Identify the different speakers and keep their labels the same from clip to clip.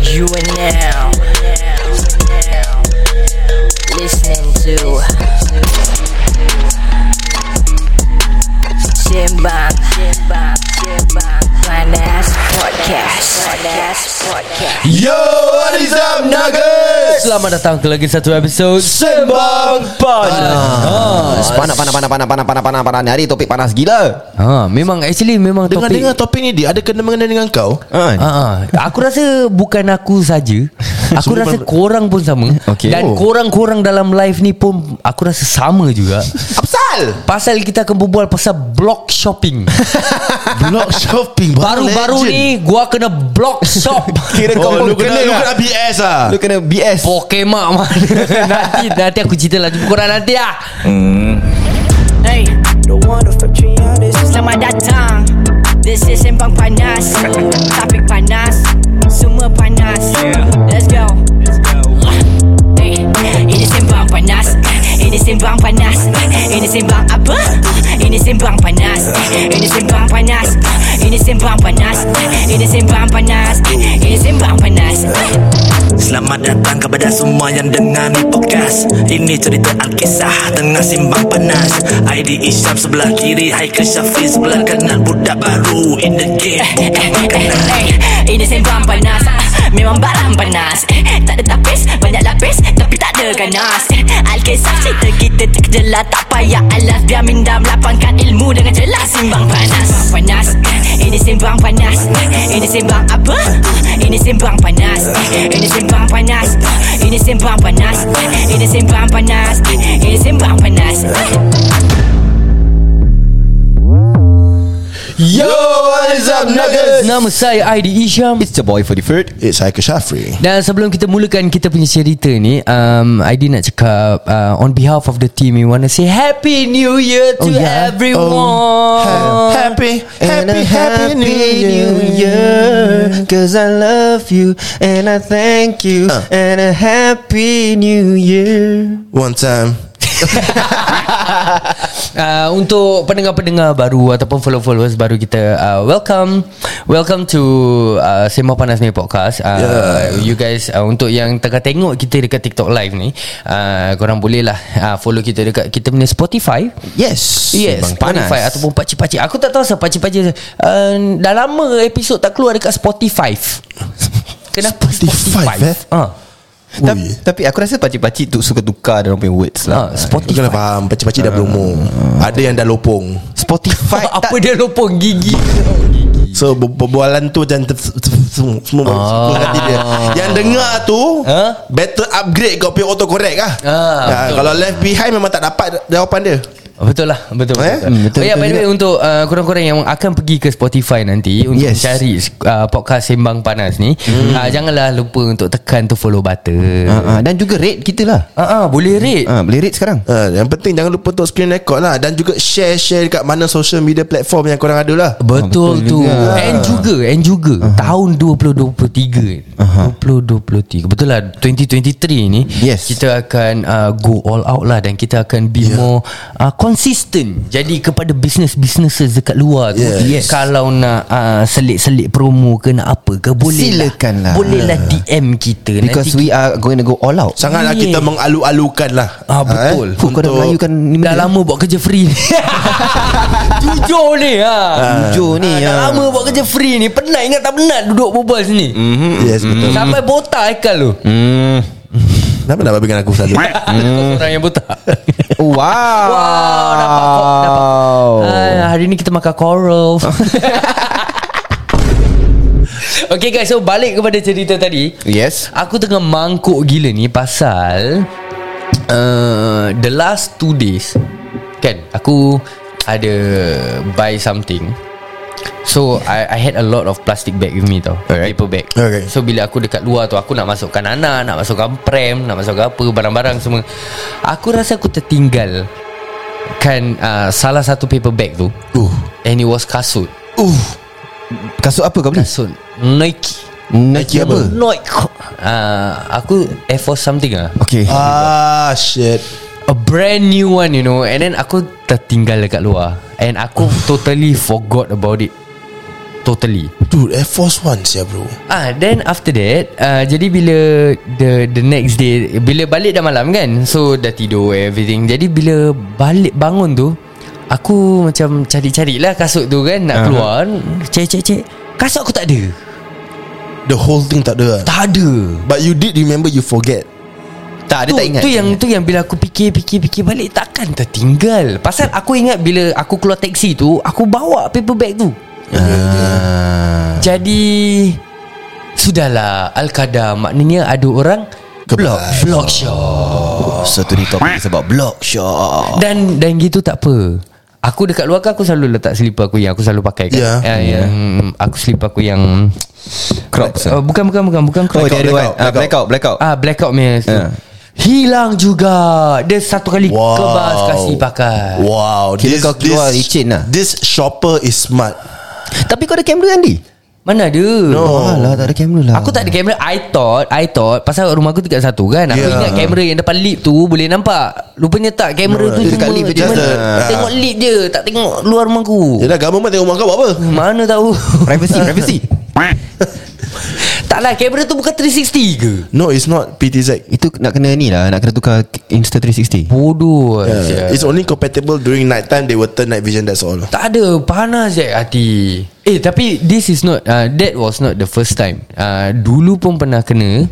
Speaker 1: You are now listening to Simbang Panas Podcast Panas Podcast
Speaker 2: Yo, what is up, Nuggets?
Speaker 3: Selamat datang ke lagi satu episod Ah.
Speaker 2: Sembang Panas.
Speaker 4: Ah. Panas, panas, panas, panas, panas, panas, panas, panas. Ni Hari topik panas gila.
Speaker 3: Ha, memang actually memang
Speaker 2: Dengan
Speaker 3: topik.
Speaker 2: dengar topik ni dia ada kena mengena dengan kau? Ah.
Speaker 3: Ha, ha. Aku rasa bukan aku saja. Aku
Speaker 2: Semua
Speaker 3: rasa
Speaker 2: ber-
Speaker 3: korang pun sama
Speaker 4: Okey.
Speaker 3: Dan
Speaker 4: Oh.
Speaker 3: korang-korang dalam live ni pun Aku rasa sama juga
Speaker 2: Apsal?
Speaker 3: Pasal kita akan berbual pasal block shopping
Speaker 2: Block shopping
Speaker 3: Baru-baru ni gua kena block shop
Speaker 4: Kira
Speaker 2: Oh,
Speaker 4: kau
Speaker 2: lu kena
Speaker 4: pun kena
Speaker 2: lu
Speaker 4: lah.
Speaker 2: kena BS ah.
Speaker 4: Lu kena BS.
Speaker 3: Pokemak mana Nanti nanti aku cerita lah Jumpa korang nanti lah
Speaker 1: Hey Selamat datang This is Sembang Panas Topik panas Semua panas Let's go Hey, Ini Sembang Panas Ini Sembang Panas Ini Sembang apa? Ini Sembang Panas Ini Sembang Panas Ini Sembang Panas Ini Sembang Panas Ini Sembang Panas
Speaker 5: Selamat datang kepada semua yang dengar ni podcast Ini cerita Alkisah tengah simbang panas ID Isyam sebelah kiri Haikal Syafiq sebelah kanan Budak baru in the game
Speaker 1: Eh, eh, eh, eh, Ini sembang panas Ah, Memang barang panas Eh, Tak ada tapis Banyak lapis Tapi tak ada ganas Eh, Alkisah cerita kita terkejelah Tak payah alas Biar minda melapangkan ilmu Dengan jelas Simbang panas Sembang panas Eh, Ini sembang panas Eh, Ini sembang apa? Ah, Ini sembang panas Eh, Ini sembang panas Ah, Ini sembang panas Eh, Ini sembang panas Eh, Ini sembang panas Eh.
Speaker 2: Yo, what is up, Nuggets?
Speaker 3: Nama saya Aidi Isham
Speaker 4: It's your boy for the food.
Speaker 2: It's Aika Shafri.
Speaker 3: Dan sebelum kita mulakan kita punya cerita ni um, Aidi nak cakap uh, On behalf of the team We wanna say Happy New Year to
Speaker 4: Oh, yeah?
Speaker 3: everyone
Speaker 2: Oh, ha- Happy, happy, happy new year.
Speaker 4: year Cause I love you And I thank you And a happy new year
Speaker 2: One time.
Speaker 3: uh, Untuk pendengar-pendengar baru Ataupun follow-followers baru kita uh, Welcome Welcome to uh, Sembah Panas Ni Podcast uh, yeah. You guys uh, Untuk yang tengah tengok kita dekat TikTok live ni uh, Korang boleh lah uh, Follow kita dekat Kita punya Spotify
Speaker 4: Yes
Speaker 3: Yes
Speaker 4: Sembang panas
Speaker 3: Spotify Ataupun pakcik-pakcik Aku tak tahu siapa pakcik-pakcik uh, Dah lama episod tak keluar Dekat Spotify Kenapa
Speaker 2: Spotify,
Speaker 3: Spotify?
Speaker 2: eh?
Speaker 3: Ah,
Speaker 4: Ta-
Speaker 2: Ui.
Speaker 4: Tapi aku rasa pakcik-pakcik tu suka tukar Dia orang punya
Speaker 3: ah,
Speaker 4: words lah Ah.
Speaker 2: Kau
Speaker 3: Spotify
Speaker 2: kena faham Pakcik-pakcik dah berumur Ada yang dah lopong
Speaker 4: Spotify
Speaker 3: Apa
Speaker 4: tak-
Speaker 3: dia lopong gigi
Speaker 2: So ber- berbualan tu Macam ter- ter- ter- Semua semua
Speaker 4: Ah.
Speaker 2: baru oh. hati dia Yang dengar tu
Speaker 4: Ha?
Speaker 3: Huh?
Speaker 2: Better upgrade Kau punya autocorrect lah
Speaker 3: Ah,
Speaker 2: Ah, Kalau left behind Memang tak dapat Jawapan dia
Speaker 3: Betul lah
Speaker 2: Eh?
Speaker 3: Betul betul, betul.
Speaker 2: Hmm,
Speaker 4: betul,
Speaker 3: Oh ya
Speaker 4: betul
Speaker 3: by the way Untuk uh, korang-korang yang akan pergi ke Spotify nanti Untuk
Speaker 4: Yes.
Speaker 3: cari uh, podcast Sembang Panas ni uh, Janganlah lupa untuk tekan tu follow button
Speaker 4: Ah, ah, Dan juga rate kita lah
Speaker 3: Ah, ah, Boleh rate
Speaker 4: Ah, Boleh rate sekarang
Speaker 2: ha, Yang penting jangan lupa Untuk screen record lah Dan juga share-share Dekat mana social media platform Yang korang ada lah
Speaker 3: Betul,
Speaker 4: betul
Speaker 3: tu
Speaker 4: juga.
Speaker 3: And juga And juga uh-huh. Tahun 2023 uh-huh. 2023 Betul lah 2023 ni
Speaker 4: Yes.
Speaker 3: Kita akan uh, Go all out lah Dan kita akan be yeah. more uh, Consistent Jadi kepada Business-businesses Dekat luar tu
Speaker 2: Yes.
Speaker 3: Kalau nak uh, Selit-selit promo ke Nak apa ke Boleh
Speaker 4: Silakan lah.
Speaker 3: Boleh lah DM kita
Speaker 4: Because we are going to go all out
Speaker 2: Sangatlah lah
Speaker 3: Yes.
Speaker 2: kita mengalu-alukan lah
Speaker 3: Ah
Speaker 2: Ha, eh?
Speaker 3: betul.
Speaker 4: Fuh, kau dah
Speaker 2: Untuk-
Speaker 4: melayukan ni
Speaker 3: Dah
Speaker 4: benda.
Speaker 3: lama buat kerja free ni Jujur ni ha.
Speaker 4: Jujur ni,
Speaker 3: Dah
Speaker 4: ah.
Speaker 3: lama buat kerja free ni Penat ingat tak penat Duduk berbual sini
Speaker 4: Mhm.
Speaker 2: Yes betul
Speaker 3: Sampai botak Haikal tu
Speaker 2: Kenapa nak babikan aku selalu
Speaker 3: Orang yang botak
Speaker 4: Wow
Speaker 3: Wow, dapat kok, dapat Ay, Hari ni kita makan coral Okay guys So balik kepada cerita tadi
Speaker 4: Yes
Speaker 3: Aku tengah mangkuk gila ni Pasal uh, The last two days Kan Aku Ada Buy something So I, I had a lot of plastic bag with me tau Alright. Paper bag
Speaker 2: Okay.
Speaker 3: So bila aku dekat luar tu Aku nak masukkan anak Nak masukkan pram Nak masukkan apa Barang-barang semua Aku rasa aku tertinggal Kan uh, Salah satu paper bag tu
Speaker 2: Uh
Speaker 3: And it was kasut
Speaker 2: Uh
Speaker 4: Kasut apa kau beli?
Speaker 3: Kasut Nike
Speaker 4: Nike
Speaker 2: apa?
Speaker 3: Nike uh, Aku Air Force something lah
Speaker 4: Okay
Speaker 2: Ah shit
Speaker 3: A brand new one you know And then aku tertinggal dekat luar And aku totally forgot about it Totally
Speaker 2: Dude Air Force One ya bro
Speaker 3: Ah, then after that, uh, jadi bila the the next day, bila balik dah malam kan, so dah tidur everything. Jadi bila balik bangun tu, aku macam cari-cari lah kasut tu kan nak keluar, cek cek cek, kasut aku tak ada.
Speaker 2: The whole thing tak ada lah.
Speaker 3: Tak ada.
Speaker 2: But you did remember You forget
Speaker 3: Tak,
Speaker 4: dia tak ingat,
Speaker 3: Tu
Speaker 4: dia
Speaker 3: yang tu yang bila aku fikir fikir fikir balik takkan tertinggal. Pasal aku ingat bila aku keluar taksi tu, aku bawa paper bag tu.
Speaker 4: Ah.
Speaker 3: Jadi Sudahlah Al-Qadar Maknanya ada orang Block Block shot
Speaker 4: Satu ni topik sebab block shop
Speaker 3: Dan dan gitu tak apa Aku dekat luar kan Aku selalu letak slipper aku Yang aku selalu pakai kan
Speaker 2: Ya.
Speaker 3: yeah. yeah. Aku slipper aku yang
Speaker 4: Crocs
Speaker 3: uh, Bukan bukan bukan Bukan crocs
Speaker 4: Oh dia ada
Speaker 2: blackout,
Speaker 4: one Ah, Blackout Blackout
Speaker 3: Ah blackout punya
Speaker 4: Ya.
Speaker 3: Hilang juga Dia satu kali
Speaker 2: Wow
Speaker 3: Kebas kasih pakai
Speaker 2: Wow
Speaker 4: Kira kau keluar licin lah.
Speaker 2: This shopper is smart
Speaker 4: Tapi kau ada kamera Andi?
Speaker 3: Mana ada
Speaker 2: No.
Speaker 4: Oh lah tak ada kamera lah
Speaker 3: Aku tak ada kamera I thought I thought Pasal rumah aku tingkat satu kan Aku
Speaker 2: Yeah.
Speaker 3: yeah. ingat kamera yang depan lip tu Boleh nampak Rupanya tak Kamera
Speaker 2: No,
Speaker 3: tu
Speaker 2: dia
Speaker 3: cuma,
Speaker 2: dekat lip je,
Speaker 3: cuma
Speaker 2: just the- Ah. Ya.
Speaker 3: Tengok lip je Tak tengok luar rumah aku
Speaker 2: Yelah government tengok muka kau buat apa
Speaker 3: Mana tahu
Speaker 4: Privacy Privacy
Speaker 3: Taklah lah, kamera tu bukan 360 ke
Speaker 2: No it's not PTZ
Speaker 4: Itu nak kena ni lah Nak kena tukar Insta 360
Speaker 3: Bodoh
Speaker 2: yeah.
Speaker 3: yeah.
Speaker 2: It's only compatible During night time They will turn night vision That's all
Speaker 3: Tak ada Panas je hati Eh tapi This is not uh, That was not the first time uh, Dulu pun pernah kena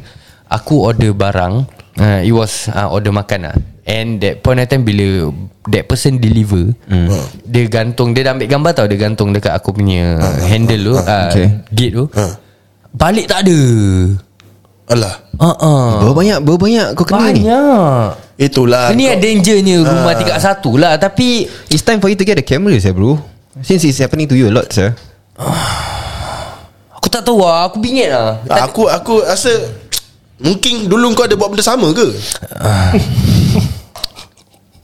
Speaker 3: Aku order barang uh, It was uh, Order makan lah And that point of time Bila That person deliver mm. Dia gantung Dia dah ambil gambar tau Dia gantung dekat aku punya Handle tu uh,
Speaker 4: okay.
Speaker 3: Gate tu
Speaker 2: Ah.
Speaker 3: Balik tak ada
Speaker 2: Alah
Speaker 3: uh-uh.
Speaker 4: Berapa banyak Berapa banyak kau kena ni
Speaker 3: Banyak
Speaker 2: Itulah
Speaker 3: Ini ada dangernya Rumah tingkat satu lah Tapi
Speaker 4: It's time for you to get a camera sir bro Since it's happening to you a lot sir
Speaker 3: Aku tak tahu lah Aku bingit lah
Speaker 2: Aku aku rasa Mungkin dulu kau ada buat benda sama ke?
Speaker 3: Ah.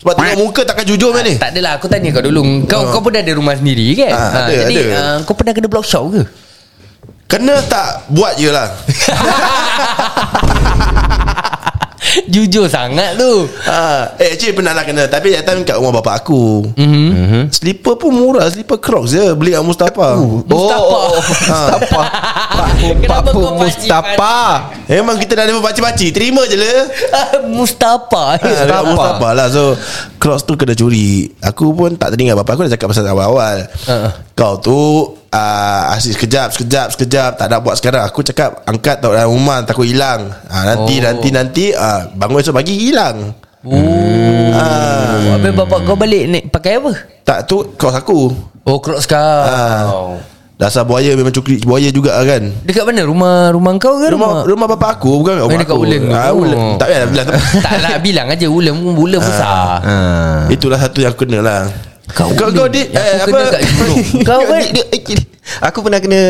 Speaker 2: Sebab tengok muka takkan jujur kan ni
Speaker 3: Tak adalah aku tanya kau dulu Kau kau pun ada rumah sendiri kan
Speaker 2: Ah, ada,
Speaker 3: Jadi
Speaker 2: ada.
Speaker 3: ah, kau pernah kena block shop ke?
Speaker 2: Kena tak buat je lah
Speaker 3: Jujur sangat tu Ah.
Speaker 2: ha. Eh actually pernah lah kena Tapi that time kat rumah bapak aku
Speaker 3: Mhm.
Speaker 2: mm-hmm. Slipper pun murah Slipper crocs je Beli kat Mustafa oh,
Speaker 3: Mustafa.
Speaker 4: Mustafa
Speaker 3: Kenapa
Speaker 4: Papu
Speaker 3: kau pakcik-
Speaker 4: Mustafa
Speaker 2: Memang kita dah ada pakcik-pakcik Terima je lah
Speaker 3: Mustafa
Speaker 2: Ha, dekat Mustafa lah So Crocs tu kena curi Aku pun tak teringat Bapak aku dah cakap pasal awal-awal
Speaker 3: Ha.
Speaker 2: Kau tu uh, Asyik sekejap Sekejap Sekejap Tak nak buat sekarang Aku cakap Angkat tak dalam rumah Takut hilang ha, Nanti
Speaker 3: Oh.
Speaker 2: nanti nanti uh, Bangun esok pagi hilang
Speaker 3: Oh
Speaker 2: ha,
Speaker 3: Habis bapak kau balik naik pakai apa?
Speaker 2: Tak tu Crocs aku
Speaker 3: Oh crocs kau
Speaker 2: ha, Dasar buaya Memang cukri buaya juga lah kan
Speaker 3: Dekat mana? Rumah rumah kau ke
Speaker 2: Rumah
Speaker 3: rumah?
Speaker 2: rumah bapak aku Bukan kat rumah
Speaker 3: dekat
Speaker 2: aku
Speaker 3: Ulen tu.
Speaker 2: ha, Ulen.
Speaker 3: Oh.
Speaker 2: Tak payah nak bilang
Speaker 3: tak lah bilang aja Ulam Ulam besar
Speaker 4: Ah.
Speaker 2: Itulah satu yang aku kena lah
Speaker 3: Kau
Speaker 2: kau,
Speaker 3: Ulen.
Speaker 2: kau di
Speaker 3: Yang
Speaker 2: eh,
Speaker 3: aku kena
Speaker 2: apa
Speaker 3: kat Jurong. Kau
Speaker 4: Kau
Speaker 3: kan
Speaker 4: dia, dia, dia- Aku pernah kena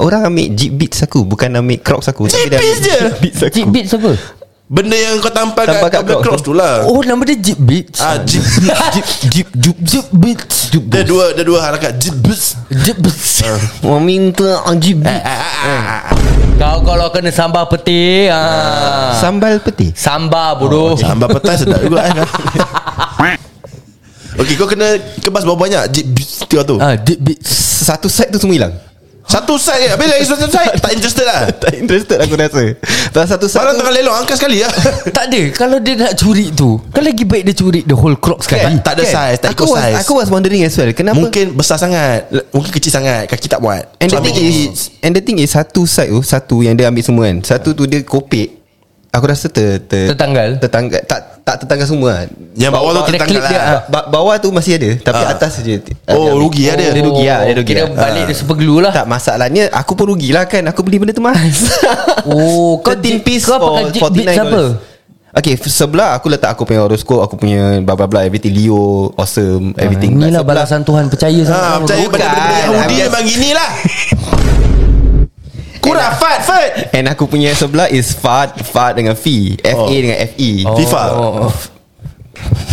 Speaker 4: Orang ambil jeep beats aku Bukan ambil crocs aku
Speaker 2: Jeep
Speaker 4: dia ambil
Speaker 2: Beats je?
Speaker 4: Jeep beats aku
Speaker 3: Jeep Beats apa?
Speaker 2: Benda yang kau tampal kat,
Speaker 4: Tampal
Speaker 2: kat
Speaker 4: kat
Speaker 2: Black
Speaker 4: Crocs.
Speaker 2: Crocs tu lah
Speaker 3: Oh nama dia Jeep Beats
Speaker 2: Ah, Jeep
Speaker 3: Jeep Jeep Jeep Jeep Beats Jeep
Speaker 2: Dia dua Dia dua harakat Jibus
Speaker 3: Jeep Beats
Speaker 4: Orang minta jeep beats
Speaker 3: Kau kalau kena sambal peti ah. Sam-
Speaker 4: Sambal peti
Speaker 3: Sambal bodoh oh, okay.
Speaker 2: Sambal petai sedap juga kan Okey kau kena Kebas berapa banyak Jibus Tiga tu
Speaker 3: ah, deep beats
Speaker 4: Satu set tu semua hilang
Speaker 2: Satu side je Habis lagi satu side Tak interested lah
Speaker 4: Tak interested aku rasa Pasal satu set
Speaker 2: Barang
Speaker 4: tu-
Speaker 2: tengah lelong Angkat sekali lah
Speaker 3: Tak ada Kalau dia nak curi tu Kan lagi baik dia curi The whole clock sekali
Speaker 2: Tak ada
Speaker 4: Kan?
Speaker 2: size Tak
Speaker 4: aku
Speaker 2: ikut
Speaker 4: was,
Speaker 2: size
Speaker 4: Aku was wondering as well Kenapa
Speaker 2: Mungkin besar sangat le- Mungkin kecil sangat Kaki tak muat
Speaker 4: And the
Speaker 2: Suami
Speaker 4: thing is And the thing is Satu side tu Satu yang dia ambil semua kan Satu tu dia kopek Aku rasa ter, ter
Speaker 3: Tertanggal?
Speaker 4: Tertanggal Tak tak tertanggal semua lah.
Speaker 2: Yang bawah tu
Speaker 3: Kena
Speaker 2: tertangkap
Speaker 3: clip dia, ah.
Speaker 2: lah
Speaker 4: Ba- ba- Bawah tu masih ada Tapi
Speaker 2: Ah.
Speaker 4: atas je ti-
Speaker 2: Oh,
Speaker 4: ada.
Speaker 2: rugi ya. lah dia.
Speaker 4: Dia rugi lah Dia rugi
Speaker 3: Oh, Kira
Speaker 4: lah.
Speaker 3: balik
Speaker 4: Ah.
Speaker 3: dia super glue lah
Speaker 4: Tak masalahnya Aku pun rugi lah kan Aku beli benda tu mahal
Speaker 3: Oh, kau
Speaker 4: 13
Speaker 3: jig- kau pakai jig beats apa?
Speaker 4: Okay f- sebelah aku letak aku punya horoscope Aku punya blah blah blah Everything Leo Awesome Everything
Speaker 3: Inilah Ah,
Speaker 4: Sebelah-
Speaker 3: lah balasan Tuhan Percaya sama
Speaker 2: Ha,
Speaker 3: kamu.
Speaker 2: percaya
Speaker 4: bukan.
Speaker 2: pada benda-benda Yahudi
Speaker 4: I'm just-
Speaker 2: memang gini lah Kurang fat fat
Speaker 4: And aku punya sebelah is Fad Fad dengan Fi F-A
Speaker 2: Oh.
Speaker 4: dengan E. F-E
Speaker 2: FIFA
Speaker 3: Oh.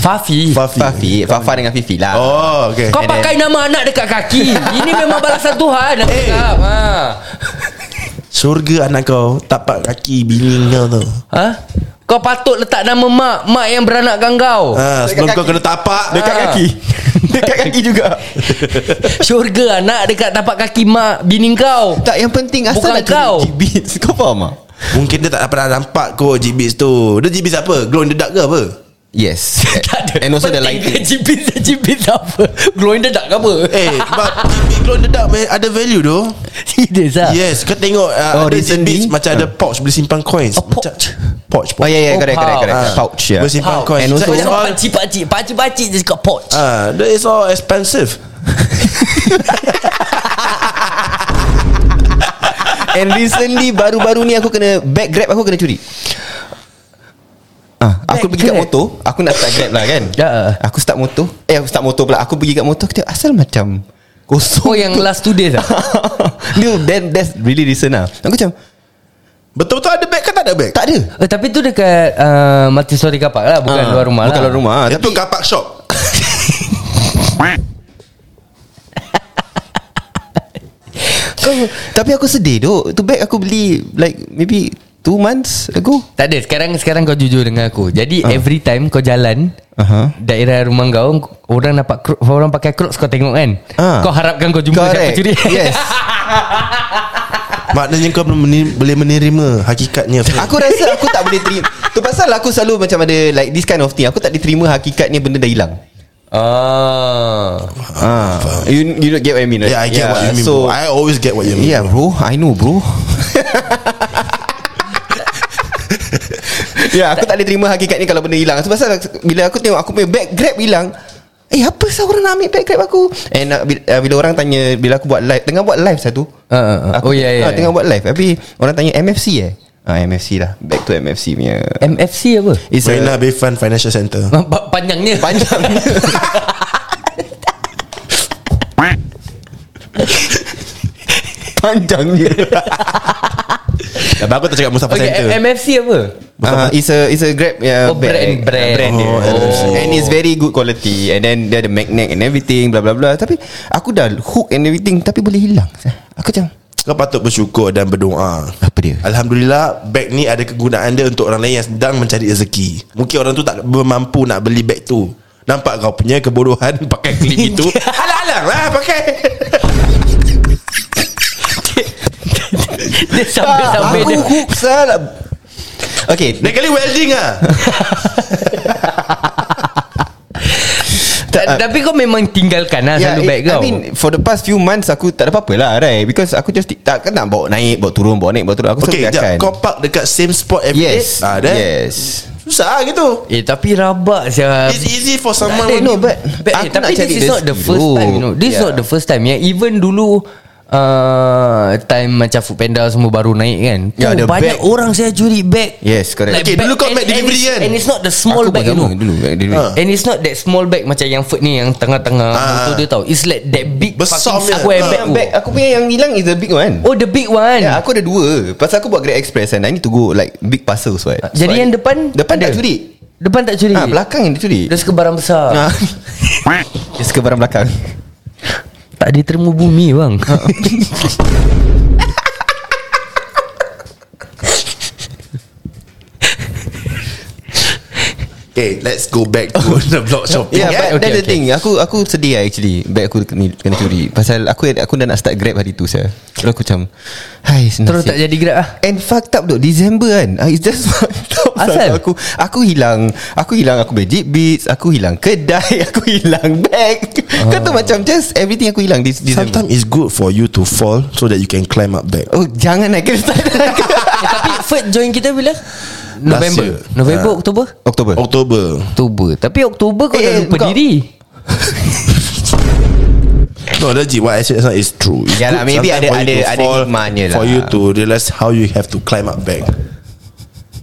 Speaker 3: Fafi
Speaker 2: Fafi
Speaker 4: Fafi Fafa dengan Fifi lah
Speaker 2: Oh okay
Speaker 3: Kau pakai nama anak dekat kaki Ini memang balasan Tuhan Aku
Speaker 2: Eh.
Speaker 3: cakap ha.
Speaker 2: Surga anak kau Tapak kaki bini kau tu
Speaker 3: ha? Kau patut letak nama mak Mak yang beranakkan kau
Speaker 2: Ah, sebelum kau kena tapak
Speaker 4: Dekat
Speaker 3: Ah.
Speaker 4: kaki Dekat kaki juga
Speaker 3: Syurga anak dekat tapak kaki mak Bini kau
Speaker 4: Tak yang penting Asal
Speaker 3: Bukan
Speaker 4: nak
Speaker 3: kau.
Speaker 4: curi beats Kau faham tak?
Speaker 2: Mungkin dia tak pernah nampak kot Jibis tu Dia Jibis apa? Glow in the dark ke apa?
Speaker 4: Yes
Speaker 3: Tak ada.
Speaker 4: And also the
Speaker 3: Penting
Speaker 4: lighting
Speaker 3: ke Jipit Jipit apa Glowing the dark ke apa
Speaker 2: Eh But Jibis glow in the dark man, Ada value tu
Speaker 3: Serius
Speaker 2: Ah.
Speaker 3: lah
Speaker 2: Yes Kau tengok uh,
Speaker 4: Oh,
Speaker 2: Ada
Speaker 4: recently?
Speaker 2: Jibis Macam ada pouch Boleh simpan coins
Speaker 3: Oh, pouch.
Speaker 2: Macam- Pouch,
Speaker 4: Oh
Speaker 2: pouch.
Speaker 4: yeah yeah
Speaker 3: Oh,
Speaker 4: Correct correct
Speaker 3: pouch.
Speaker 4: correct
Speaker 2: Ah.
Speaker 4: Pouch yeah
Speaker 2: Boleh simpan
Speaker 3: Pouch.
Speaker 2: coins
Speaker 4: And also-
Speaker 2: That is
Speaker 4: Macam
Speaker 2: all
Speaker 3: Pakcik-pakcik Pakcik-pakcik je cakap pouch
Speaker 4: Ah.
Speaker 2: uh, That is all expensive
Speaker 4: And recently Baru-baru ni aku kena Back grab aku kena curi Ah, aku
Speaker 3: Back
Speaker 4: pergi kat
Speaker 3: grab?
Speaker 4: motor Aku nak start grab lah kan
Speaker 3: Ya.
Speaker 4: Aku start motor Eh aku start motor pula Aku pergi kat motor Aku tengok asal macam Kosong
Speaker 3: Oh yang last two days lah
Speaker 4: Dude that, That's really recent lah Aku macam
Speaker 2: Betul-betul ada bag ke tak ada bag?
Speaker 4: Tak ada
Speaker 3: Eh, tapi tu dekat uh, multi-story kapak lah Bukan
Speaker 4: Ah,
Speaker 3: luar rumah lah
Speaker 4: Bukan luar rumah
Speaker 2: Itu
Speaker 4: Tapi
Speaker 2: kapak shop
Speaker 4: Kau- Tapi aku sedih duk Tu bag aku beli Like maybe Two months ago
Speaker 3: Tak ada sekarang sekarang kau jujur dengan aku Jadi
Speaker 4: Ah.
Speaker 3: every time kau jalan
Speaker 4: Aha.
Speaker 3: Daerah rumah kau Orang dapat kro- Orang pakai crocs kau tengok kan
Speaker 4: Ah.
Speaker 3: Kau harapkan kau jumpa siapa
Speaker 4: Correct.
Speaker 3: curi
Speaker 4: Yes
Speaker 2: Maknanya kau belum meni- boleh menerima Hakikatnya
Speaker 4: Aku rasa aku tak boleh terima Tu pasal aku selalu macam ada Like this kind of thing Aku tak diterima hakikatnya Benda dah hilang
Speaker 3: Ah.
Speaker 4: ah. you, you don't get what I mean right?
Speaker 2: Yeah I get what you mean
Speaker 4: so,
Speaker 2: bro. I always get what you mean
Speaker 4: Yeah bro I know bro Ya yeah, aku tak boleh terima hakikat ni Kalau benda hilang Sebab pasal Bila aku tengok Aku punya bag grab hilang Eh apa sah orang nak ambil bag grab aku And uh, bila, uh, bila orang tanya Bila aku buat live Tengah buat live satu
Speaker 3: Ah, ah, ah. Oh, ya, ya,
Speaker 4: ah,
Speaker 3: ya.
Speaker 4: Tengah buat live Tapi orang tanya MFC eh ah, MFC lah Back to MFC punya
Speaker 3: MFC apa?
Speaker 4: It's
Speaker 2: Marina Bay Fund Financial Center
Speaker 3: Pa- pa- Panjangnya
Speaker 4: Panjang Panjangnya
Speaker 2: Dah bagus tak cakap Mustafa
Speaker 3: Okay
Speaker 2: Center
Speaker 3: M- MFC apa?
Speaker 4: uh, It's a It's a grab uh,
Speaker 3: Oh, brand- brand.
Speaker 4: brand dia.
Speaker 2: Oh,
Speaker 3: MFC.
Speaker 4: And it's very good quality And then dia ada magnet and everything bla bla bla Tapi aku dah hook and everything Tapi boleh hilang Aku macam
Speaker 2: Kau patut bersyukur dan berdoa
Speaker 4: Apa dia?
Speaker 2: Alhamdulillah Bag ni ada kegunaan dia Untuk orang lain yang sedang mencari rezeki Mungkin orang tu tak mampu nak beli bag tu Nampak kau punya kebodohan Pakai klip itu Alang-alang lah pakai
Speaker 3: Dia sampai-sampai
Speaker 4: Ah, Aku
Speaker 3: dia
Speaker 4: hook salah Okay
Speaker 2: Lain kali welding lah
Speaker 3: Ta- Tapi kau memang tinggalkan lah Selalu
Speaker 4: Ya, it-
Speaker 3: bag kau
Speaker 4: I mean for the past few months Aku tak ada apa-apa lah right Because aku just Tak kan nak bawa naik Bawa turun Bawa naik Bawa turun Aku
Speaker 2: Okay
Speaker 4: selalu
Speaker 2: sekejap
Speaker 4: biarkan
Speaker 2: Kau park dekat same spot every day
Speaker 4: Yes
Speaker 2: ah, then
Speaker 4: Yes Um,
Speaker 2: Susah lah gitu
Speaker 3: Eh tapi rabak siya
Speaker 2: It's easy for
Speaker 3: Tak
Speaker 2: someone
Speaker 3: ada,
Speaker 2: who-
Speaker 4: no, but-
Speaker 3: But,
Speaker 4: aku
Speaker 3: eh, tapi
Speaker 4: nak cari
Speaker 3: this is
Speaker 4: the
Speaker 3: not the
Speaker 4: speed
Speaker 3: first
Speaker 4: dulu.
Speaker 3: time you know. This is
Speaker 4: Yeah.
Speaker 3: not the first time Yang even dulu uh, Time macam food panda Semua baru naik kan
Speaker 4: Yeah,
Speaker 3: tu,
Speaker 4: the
Speaker 3: Banyak
Speaker 4: bag.
Speaker 3: orang saya curi bag
Speaker 4: Yes correct
Speaker 2: Okay, dulu kau
Speaker 3: and-
Speaker 2: bag
Speaker 3: and
Speaker 2: delivery
Speaker 3: it's-
Speaker 2: kan?
Speaker 3: And it's not the small
Speaker 4: Aku
Speaker 3: bag
Speaker 4: pun
Speaker 3: you know
Speaker 4: sama dulu back delivery.
Speaker 2: Ah.
Speaker 3: And it's not that small bag Macam yang food ni Yang tengah-tengah
Speaker 2: Ah.
Speaker 3: Motor dia tau It's like that big
Speaker 2: Besar
Speaker 3: fucking
Speaker 2: punya.
Speaker 3: square
Speaker 2: Ah.
Speaker 3: bag, tu.
Speaker 4: Bag aku punya yang hilang Is the big one
Speaker 3: Oh the big one
Speaker 4: Ya, aku ada dua Pasal aku buat Grab Express And I need to go Like big parcels right?
Speaker 3: Jadi
Speaker 4: So,
Speaker 3: yang
Speaker 4: I-
Speaker 3: depan
Speaker 4: Depan
Speaker 3: ada? Eh.
Speaker 4: tak curi
Speaker 3: Depan tak curi
Speaker 4: ha, Belakang yang dia curi
Speaker 3: Dia suka barang besar
Speaker 4: ha. Dia suka barang belakang
Speaker 3: Tak ada termu bumi bang
Speaker 2: Okay let's go back to The block shopping eh?
Speaker 3: Ya, okay,
Speaker 4: Yeah, but okay, that's the
Speaker 3: okay.
Speaker 4: thing Aku aku sedih lah actually Bag aku kena, kena curi Pasal aku aku dah nak start Grab hari tu saya. Terus aku macam Hai senasib
Speaker 3: Terus tak jadi grab lah
Speaker 4: And fucked up duk December kan Ah, It's just fucked up
Speaker 3: Asal?
Speaker 4: Aku aku hilang Aku hilang Aku beli Jeep Beats Aku hilang kedai Aku hilang bag
Speaker 3: Ah.
Speaker 4: Kau tahu macam Just everything aku hilang this December
Speaker 2: Sometimes it's good for you to fall So that you can climb up back
Speaker 4: Oh jangan nak kena start
Speaker 3: Eh, Tapi Ferd join kita bila?
Speaker 2: year.
Speaker 3: November November, Oktober
Speaker 4: Oktober
Speaker 2: Oh, Oktober
Speaker 3: Oktober Tapi Oktober kau
Speaker 4: Eh,
Speaker 3: dah
Speaker 4: eh,
Speaker 3: lupa
Speaker 4: kau-
Speaker 3: diri
Speaker 2: no, legit. What I said just now is true. It's
Speaker 4: Yeah lah,
Speaker 2: good sometimes
Speaker 4: maybe ada-
Speaker 2: for you to
Speaker 4: ada- ada
Speaker 2: fall,
Speaker 4: hikmahnya lah.
Speaker 2: For you to realize how you have to climb up back.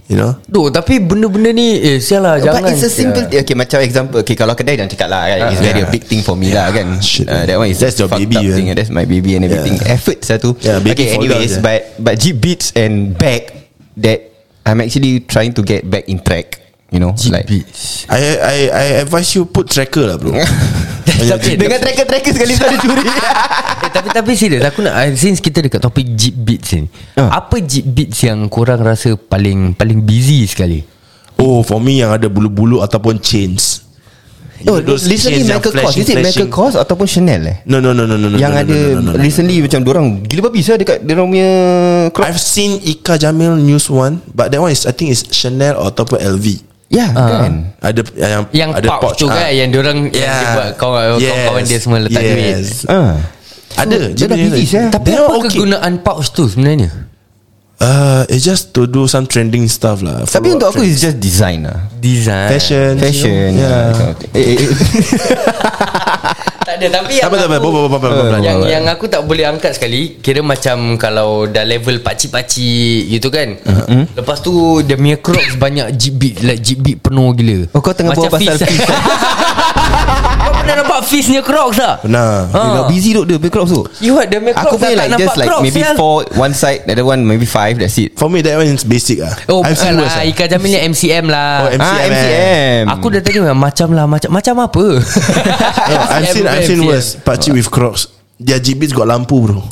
Speaker 2: You know?
Speaker 3: Duh tapi benda-benda ni Eh sialah jangan
Speaker 4: Jangan But it's a simple
Speaker 3: sia.
Speaker 4: yeah. Okay macam example Okay kalau kedai Jangan cakap lah kan It's very a big thing for me lah
Speaker 2: Ah,
Speaker 4: kan
Speaker 2: Shit,
Speaker 4: uh, That one is
Speaker 2: That's your
Speaker 4: fucked
Speaker 2: baby,
Speaker 4: up
Speaker 2: kan?
Speaker 4: thing That's my baby and everything
Speaker 2: Yeah.
Speaker 4: Effort satu
Speaker 2: Yeah, baby
Speaker 4: Okay
Speaker 2: fall down je.
Speaker 4: anyways But but Jeep Beats and Back That I'm actually trying to get back in track You know Jeep like,
Speaker 2: I I I advise you put tracker lah bro. Banyak
Speaker 3: Tapi-
Speaker 2: tracker.
Speaker 4: Dengan tracker-tracker sekali Sekali curi
Speaker 3: eh, Tapi tapi serius Aku nak eh, Since kita dekat topik Jeep Beats ni
Speaker 4: Ah.
Speaker 3: Apa Jeep Beats yang korang rasa Paling paling busy sekali
Speaker 2: Oh for me yang ada bulu-bulu Ataupun chains
Speaker 4: Oh,
Speaker 2: You know, those
Speaker 4: recently
Speaker 2: chains yang
Speaker 4: Michael Kors
Speaker 2: flashing,
Speaker 4: Is it Michael
Speaker 2: flashing.
Speaker 4: Kors Ataupun Chanel eh
Speaker 2: No no no no no no,
Speaker 4: Yang
Speaker 2: no, no,
Speaker 4: ada
Speaker 2: no, no, no, no.
Speaker 4: Recently macam Diorang gila babi sah Dekat diorang punya crop.
Speaker 2: I've seen Ika Jamil news one But that one is I think is Chanel or Ataupun LV
Speaker 4: Ya
Speaker 2: Ah.
Speaker 4: kan
Speaker 2: Ada yang,
Speaker 3: Yang
Speaker 2: ada
Speaker 3: pouch, tu
Speaker 2: ah.
Speaker 3: kan Yang diorang yeah. Yang dia buat kawan- kawan-kawan dia semua letak
Speaker 2: yes.
Speaker 3: duit
Speaker 4: Ah.
Speaker 2: Ada
Speaker 4: dia dah busy sia.
Speaker 2: Tapi
Speaker 3: Tapi apa kegunaan pouch tu sebenarnya?
Speaker 2: uh, It's just to do some trending stuff lah
Speaker 4: Tapi
Speaker 2: Follow
Speaker 4: untuk
Speaker 2: up
Speaker 4: aku It's just design lah
Speaker 3: Design
Speaker 2: Fashion
Speaker 4: Fashion
Speaker 2: you know?
Speaker 4: yeah.
Speaker 2: Yeah
Speaker 4: eh, eh,
Speaker 3: Tak ada Tapi
Speaker 2: Tak
Speaker 3: yang
Speaker 2: apa tak apa
Speaker 3: aku-
Speaker 2: Bawa bawa bawa bawa
Speaker 3: yang yang aku tak boleh angkat sekali Kira macam Kalau dah level pakcik-pakcik Gitu kan
Speaker 4: Uh-huh.
Speaker 3: mm-hmm. Lepas tu Dia punya crocs banyak Jeep beat Like jeep beat penuh gila
Speaker 4: Oh, kau tengah
Speaker 3: Macam
Speaker 4: buat pasal
Speaker 3: Fizz.
Speaker 4: Fizz. eh?
Speaker 3: Kau pernah nampak Fizz punya crocs tak?
Speaker 2: Pernah
Speaker 4: eh,
Speaker 3: Ah.
Speaker 4: dah busy duk dia Punya crops tu
Speaker 3: You what Dia punya crocs
Speaker 4: Aku punya like Just like maybe four One side The other one maybe five That's it
Speaker 2: For me that one is basic lah
Speaker 3: Oh
Speaker 2: I've
Speaker 3: bukan
Speaker 2: seen worse ah.
Speaker 3: lah
Speaker 4: eh.
Speaker 3: Ika Jamil ni MCM lah
Speaker 2: Oh, MCM.
Speaker 4: Ah, MCM
Speaker 3: Aku dah tanya Macam lah Macam macam apa
Speaker 2: No, I've seen I've seen
Speaker 3: MCM.
Speaker 2: worse Pakcik with crocs Their GBs got lampu bro